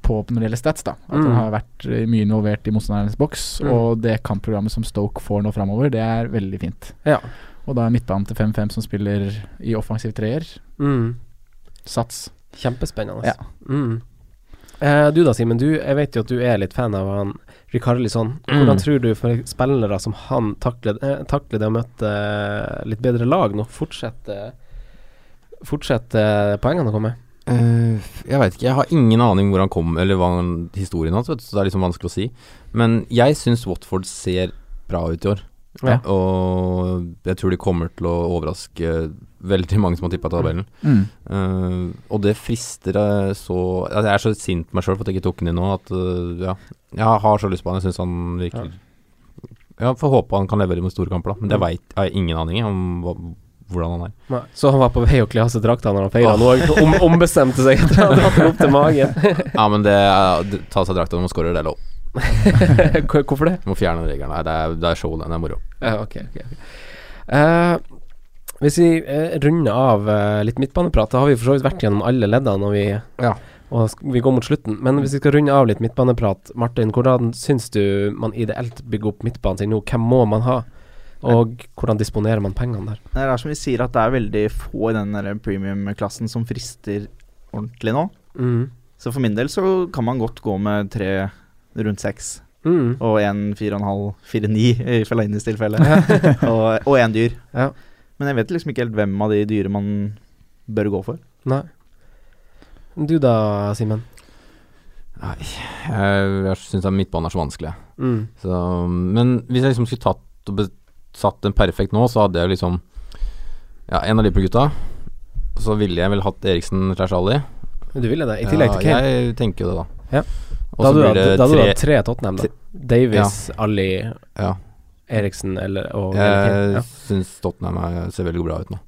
Speaker 4: på når det gjelder stats. da At han
Speaker 2: Mm.
Speaker 4: har vært eh, mye involvert i motstandernes boks.
Speaker 2: Mm.
Speaker 4: Og det kampprogrammet som Stoke får nå framover, det er veldig fint.
Speaker 2: Ja.
Speaker 4: Og da er midtbanen til 5-5 som spiller i offensiv treer.
Speaker 2: Mm.
Speaker 4: Sats.
Speaker 2: Kjempespennende.
Speaker 4: Ja.
Speaker 2: Mm. Eh, du da, Simen. Du, jeg vet jo at du er litt fan av han Rikarlison. Hvordan
Speaker 5: Mm.
Speaker 2: tror du for spillere som han takler, eh, takler det å møte eh, litt bedre lag nå? Fortsetter fortsetter poengene å komme?
Speaker 5: Eh, jeg veit ikke. Jeg har ingen aning hvor han kom, eller hva han- historien hans, vet du, så det er liksom vanskelig å si. Men jeg syns Watford ser bra ut i år.
Speaker 2: Ja.
Speaker 5: Og jeg tror de kommer til å overraske veldig mange som har tippa tabellen.
Speaker 4: Mm.
Speaker 5: Eh, og det frister eh, så altså, Jeg er så sint på meg sjøl for at jeg ikke tok den inn nå, at eh, ja. Jeg har så lyst på han. Jeg syns han virker Ja, får håpe han kan levere med store kamper, da. Men det
Speaker 2: Mm.
Speaker 5: veit jeg ingen aning om hva, hvordan han er.
Speaker 2: Så han var på vei å kle av seg drakta når han feira
Speaker 5: Åh.
Speaker 2: nå, og om, ombestemte seg etter å ha dratt den opp til magen.
Speaker 5: Ja, men det er- det- Ta av seg drakta når man scorer, det er lov.
Speaker 2: Hvor- Hvorfor det?
Speaker 5: Du må fjerne den regelen. Nei, det er, det er show, den er moro.
Speaker 2: Ja, ok, ok, ok. Eh, hvis vi eh, runder av eh, litt midtbaneprat, da har vi for så vidt vært gjennom alle leddene og vi,
Speaker 4: Ja.
Speaker 2: og sk- vi går mot slutten. Men hvis vi skal runde av litt midtbaneprat, Martin, hvordan syns du man ideelt bygger opp midtbanen sin nå? Hvem må man ha? Og hvordan disponerer man pengene der?
Speaker 3: Det er som vi sier at det er veldig få i den der premium-klassen som frister ordentlig nå.
Speaker 2: Mm.
Speaker 3: Så for min del så kan man godt gå med tre rundt seks.
Speaker 2: Mm.
Speaker 3: Og en fire og en halv, fire ni i Felainis tilfelle. og, og en dyr.
Speaker 2: Ja.
Speaker 3: Men jeg vet liksom ikke helt hvem av de dyre man bør gå for.
Speaker 2: Nei. Du da, Simen?
Speaker 5: Jeg, jeg syns midtbanen er så vanskelig. jeg.
Speaker 2: Mm.
Speaker 5: Så, men hvis jeg liksom skulle tatt og be- satt en perfekt nå, så hadde jeg liksom Ja, en av Liverpool-gutta. Så ville jeg vel hatt Eriksen slash Ali.
Speaker 2: Du ville det, i tillegg til Kane?
Speaker 5: Jeg tenker jo det, da.
Speaker 2: Ja.
Speaker 5: Og
Speaker 2: da
Speaker 5: så
Speaker 2: hadde du
Speaker 5: blir
Speaker 2: hatt-
Speaker 5: det
Speaker 2: da hadde du
Speaker 5: tre
Speaker 2: hatt tre Tottenham, da. Davies, Ali,
Speaker 5: Ja.
Speaker 2: Eriksen eller, og
Speaker 5: Jeg
Speaker 2: Ja.
Speaker 5: syns Tottenham er- ser veldig bra ut nå.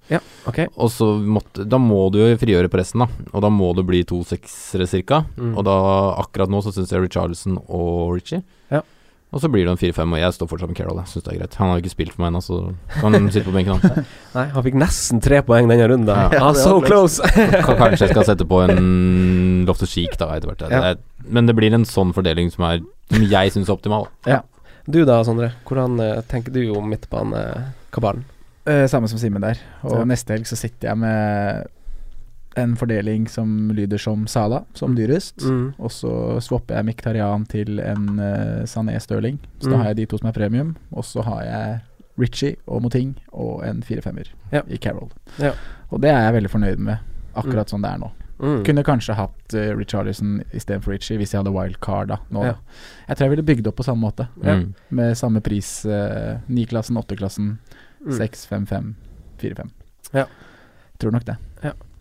Speaker 2: Ok.
Speaker 5: Og så måtte Da må du jo frigjøre på resten, da. Og da må det bli to seksere, cirka.
Speaker 2: Mm.
Speaker 5: Og da, akkurat nå så syns jeg Richarlison og Richie.
Speaker 2: Ja.
Speaker 5: Og så blir det en 4-5, og jeg står fortsatt med Carroll. Jeg syns det er greit. Han har jo ikke spilt for meg ennå, så kan han sitte på benken, han.
Speaker 2: Nei, han fikk nesten tre poeng denne runden.
Speaker 5: Ja.
Speaker 2: Ah, so close!
Speaker 5: Kan- Kanskje jeg skal sette på en Loftus Cheek da, etter hvert.
Speaker 2: Ja.
Speaker 5: Det er- Men det blir en sånn fordeling som, er, som jeg syns er optimal.
Speaker 2: du da, Sondre. Hvordan eh, tenker du om midtbanekabalen?
Speaker 4: Eh, samme som Simen der. Og
Speaker 2: Ja.
Speaker 4: neste helg så sitter jeg med en fordeling som lyder som Sala, som dyrest.
Speaker 2: Mm.
Speaker 4: Og så swapper jeg Miktarian til en eh, Sané Stirling. Så
Speaker 2: Mm.
Speaker 4: da har jeg de to som er premium. Og så har jeg Ritchie og Moting og en firefemmer
Speaker 2: Ja.
Speaker 4: i Carol.
Speaker 2: Ja.
Speaker 4: Og det er jeg veldig fornøyd med, akkurat sånn det er nå.
Speaker 2: Mm.
Speaker 4: Kunne kanskje hatt uh, Richarlison istedenfor Ritchie hvis jeg hadde wildcard da. Nå,
Speaker 2: Ja.
Speaker 4: da. Jeg tror jeg ville bygd opp på samme måte,
Speaker 2: Ja.
Speaker 5: Mm.
Speaker 4: med samme pris. eh, Ni-klassen, åtte-klassen,
Speaker 2: Mm.
Speaker 4: seks, fem, fem, fire, fem.
Speaker 2: Ja.
Speaker 4: Tror nok det.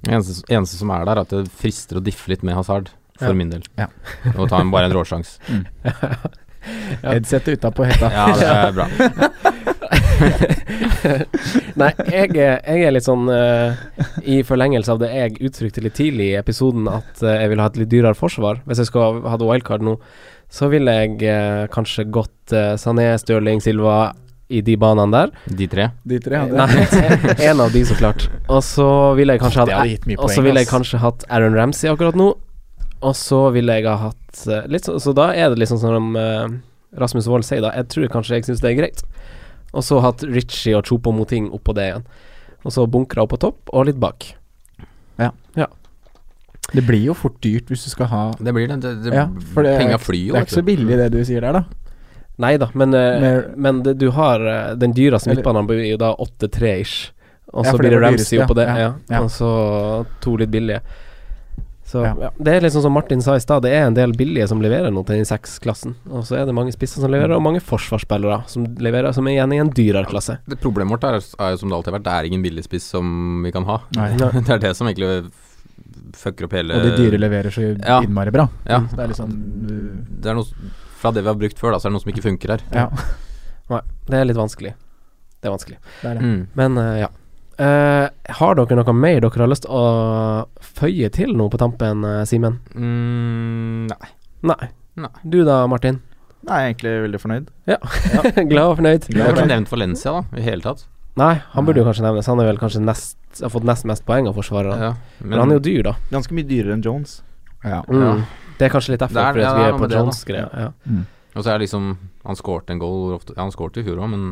Speaker 5: Eneste, eneste som er der, er at det frister å diffe litt med Hazard, for
Speaker 2: Ja.
Speaker 5: min del.
Speaker 4: Ja.
Speaker 5: Og ta en, bare en råsjanse.
Speaker 2: Ja.
Speaker 4: Headsetet utapå hetta.
Speaker 5: Ja, det er bra.
Speaker 2: Nei, jeg, er- jeg er litt sånn eh, I forlengelse av det jeg uttrykte litt tidlig i episoden, at eh, jeg vil ha et litt dyrere forsvar. Hvis jeg skal ha et wildcard nå, så ville jeg eh, kanskje gått eh, Sané, Stirling, Silva i de banene der.
Speaker 5: De tre.
Speaker 4: De tre hadde
Speaker 2: Nei, en av de, så klart. Og så ville jeg kanskje
Speaker 4: Det
Speaker 2: hatt
Speaker 4: hadde gitt mye
Speaker 2: Og så
Speaker 4: poeng,
Speaker 2: ville jeg
Speaker 4: ass.
Speaker 2: kanskje hatt Aaron Ramsey akkurat nå. Og så ville jeg ha hatt eh, litt så, så da er det liksom sånn som eh, Rasmus Wold sier, da. Jeg tror kanskje jeg syns det er greit. Og så hatt Ritchie og Chopo Moting oppå det igjen. Og så bunkra opp på topp og litt bak.
Speaker 4: Det blir jo fort dyrt hvis du skal ha
Speaker 5: Det blir det. det, det
Speaker 4: Ja, for det er
Speaker 5: penga
Speaker 4: ikke-
Speaker 5: flyr jo.
Speaker 4: Det er ikke så
Speaker 5: vet du.
Speaker 4: billig det du sier der, da.
Speaker 2: Nei da, men, eh,
Speaker 4: Mer-
Speaker 2: men det, du har eh, den dyreste
Speaker 4: Eller-
Speaker 2: midtbanen blir jo da 8-3-ish. Og så
Speaker 4: Ja, for det
Speaker 2: blir det
Speaker 4: var
Speaker 2: Ramsey
Speaker 4: dyreste,
Speaker 2: oppå det,
Speaker 4: ja,
Speaker 2: ja.
Speaker 4: ja.
Speaker 2: Og så to litt billige. Så ja.
Speaker 4: Ja.
Speaker 2: Det er liksom som Martin sa i stad, det er en del billige som leverer nå til den seksklassen. Og så er det mange spisser som leverer, og mange forsvarsspillere som leverer, som er igjen i en dyrere klasse.
Speaker 5: Det problemet vårt er, er jo som det alltid har vært, det er ingen billigspiss som vi kan ha.
Speaker 4: Nei.
Speaker 5: Det er det som egentlig f- fucker opp hele
Speaker 4: Og de dyre leverer så
Speaker 5: Ja.
Speaker 4: innmari bra.
Speaker 5: Ja.
Speaker 4: Så det er litt sånn uh,
Speaker 5: Det er noe s- Fra det vi har brukt før, da, så er det noe som ikke funker her.
Speaker 4: Ja,
Speaker 2: Det er litt vanskelig. Det er vanskelig.
Speaker 4: det er det.
Speaker 5: Mm.
Speaker 2: Men eh, ja. Eh, har dere noe mer dere har lyst til å føye til nå på tampen, eh, Simen?
Speaker 5: Mm, nei.
Speaker 2: Nei.
Speaker 5: Nei.
Speaker 2: Du da, Martin?
Speaker 3: Nei, jeg er egentlig veldig fornøyd.
Speaker 2: Glad og fornøyd?
Speaker 5: Vi har ikke nevnt Valencia, da, i hele tatt.
Speaker 2: Nei, han burde jo kanskje nevnes. Han er vel kanskje nest, har fått nest mest poeng av forsvarerne.
Speaker 5: Ja,
Speaker 2: Men han er jo dyr, da.
Speaker 3: Ganske mye dyrere enn Jones.
Speaker 4: Ja.
Speaker 2: Mm. Det er kanskje litt derfor,
Speaker 5: Det er-
Speaker 2: fordi
Speaker 5: ja,
Speaker 2: at
Speaker 5: det
Speaker 2: vi
Speaker 5: er
Speaker 2: er
Speaker 5: noe
Speaker 2: på
Speaker 5: med det, da.
Speaker 2: Johns greie. Ja.
Speaker 5: Og så er det liksom Han skårte en goal hvor ofte, ja, Han skårte i fjor òg, men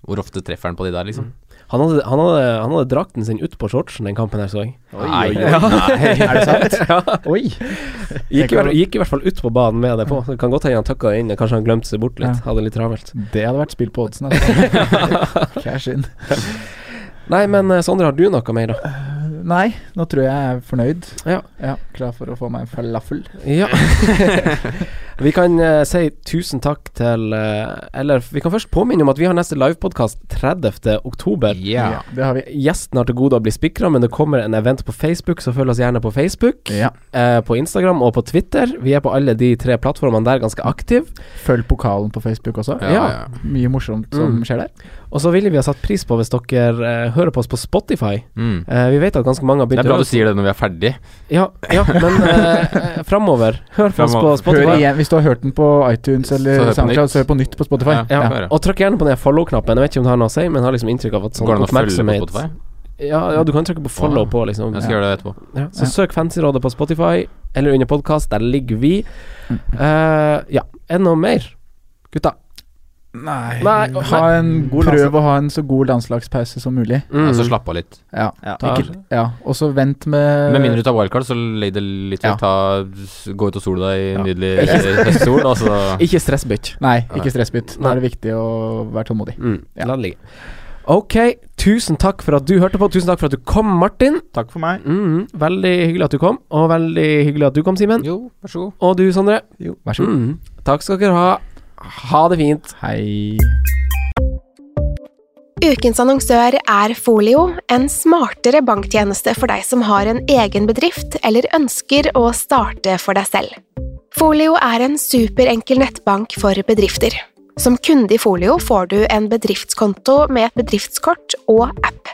Speaker 5: hvor ofte treffer han på de der, liksom?
Speaker 2: Han, hadde, han, hadde, han hadde drakten sin ut på shortsen den kampen her, så jeg.
Speaker 5: Oi, oi, oi.
Speaker 2: Ja.
Speaker 5: Nei.
Speaker 4: Er det sant?
Speaker 2: ja.
Speaker 4: Oi!
Speaker 2: Gikk, i hvert- gikk i hvert fall ut på banen med det på. Det kan godt hende han tøkka det inn, kanskje han glemte seg bort litt.
Speaker 4: Ja.
Speaker 2: Hadde litt travelt.
Speaker 4: Det hadde vært spill på oddsen. altså. Cash in.
Speaker 2: Nei, men eh, Sondre, har du noe mer, da?
Speaker 4: Nei, nå tror jeg jeg er fornøyd.
Speaker 2: Ja.
Speaker 4: Klar for å få meg en falafel.
Speaker 2: Ja. vi kan eh, si tusen takk til eh, Eller vi kan først påminne om at vi har neste livepodkast 30. oktober.
Speaker 5: Ja.
Speaker 4: Det har vi.
Speaker 2: Gjesten har til gode å bli spikra, men det kommer en event på Facebook, så følg oss gjerne på Facebook.
Speaker 4: Ja.
Speaker 2: eh, på Instagram og på Twitter. Vi er på alle de tre plattformene der ganske aktive.
Speaker 4: Følg pokalen på Facebook også.
Speaker 5: Ja, ja.
Speaker 4: Mye morsomt som
Speaker 2: Mm.
Speaker 4: skjer der.
Speaker 2: Og så ville vi ha satt pris på hvis dere eh, hører på oss på Spotify.
Speaker 5: Mm.
Speaker 2: Eh, vi vet at ganske mange har
Speaker 5: Det
Speaker 2: begynt
Speaker 5: er bra
Speaker 2: å
Speaker 5: du sier det når vi er ferdig.
Speaker 2: Ja, ja men uh, framover. Hør på oss på
Speaker 5: Fremover.
Speaker 4: Hør
Speaker 2: Spotify.
Speaker 4: igjen, hvis du har hørt den på iTunes
Speaker 5: Så hør
Speaker 4: eller
Speaker 5: på
Speaker 4: SoundCloud,
Speaker 5: nytt.
Speaker 4: så hør på nytt på Spotify.
Speaker 5: Ja.
Speaker 2: Ja,
Speaker 5: Hør, ja.
Speaker 2: og trykk gjerne på den her follow-knappen. Jeg vet ikke om det har noe å si, men jeg har liksom inntrykk av at sånn
Speaker 5: Går det an å følge på
Speaker 2: oppmerksomhet
Speaker 5: Spotify?
Speaker 2: Ja, ja, du kan trykke på follow
Speaker 5: Wow.
Speaker 2: på, liksom.
Speaker 5: Jeg skal gjøre det etterpå.
Speaker 2: Ja, så
Speaker 4: Ja.
Speaker 2: søk Fancyrådet på Spotify, eller under podkast. Der ligger vi. Eh, ja. Er det noe mer, gutta?
Speaker 4: Nei,
Speaker 2: Nei, og-
Speaker 4: ha en,
Speaker 3: God
Speaker 4: prøv å ha en så god landslagspause som mulig.
Speaker 5: Ja, så slapp av litt.
Speaker 4: Ja.
Speaker 3: Ja.
Speaker 4: Ikke, ja. Og så vent med
Speaker 5: Med mindre du tar wildcard, så legg det litt
Speaker 4: Eh, Ja.
Speaker 5: til. Ta, gå ut og sole deg i
Speaker 4: Ja.
Speaker 5: nydelig altså. høstsol, og så
Speaker 2: Ikke stress, bitch.
Speaker 4: Nei, ikke stressbytt. Da
Speaker 2: Nei.
Speaker 4: er det viktig å være tålmodig.
Speaker 2: Mm,
Speaker 4: Ja.
Speaker 2: La det ligge. Ok, tusen takk for at du hørte på. Tusen takk for at du kom, Martin.
Speaker 3: Takk for meg.
Speaker 2: Mm, veldig hyggelig at du kom, og veldig hyggelig at du kom, Simen.
Speaker 5: Jo, vær så god.
Speaker 2: Og du, Sondre.
Speaker 4: Vær så god.
Speaker 2: Mm, takk skal dere ha. Ha det fint.
Speaker 4: Hei.
Speaker 6: Ukens annonsør er Folio, en smartere banktjeneste for deg som har en egen bedrift eller ønsker å starte for deg selv. Folio er en superenkel nettbank for bedrifter. Som kunde i Folio får du en bedriftskonto med et bedriftskort og app.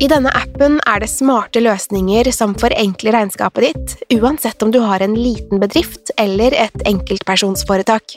Speaker 6: I denne appen er det smarte løsninger som forenkler regnskapet ditt, uansett om du har en liten bedrift eller et enkeltpersonsforetak.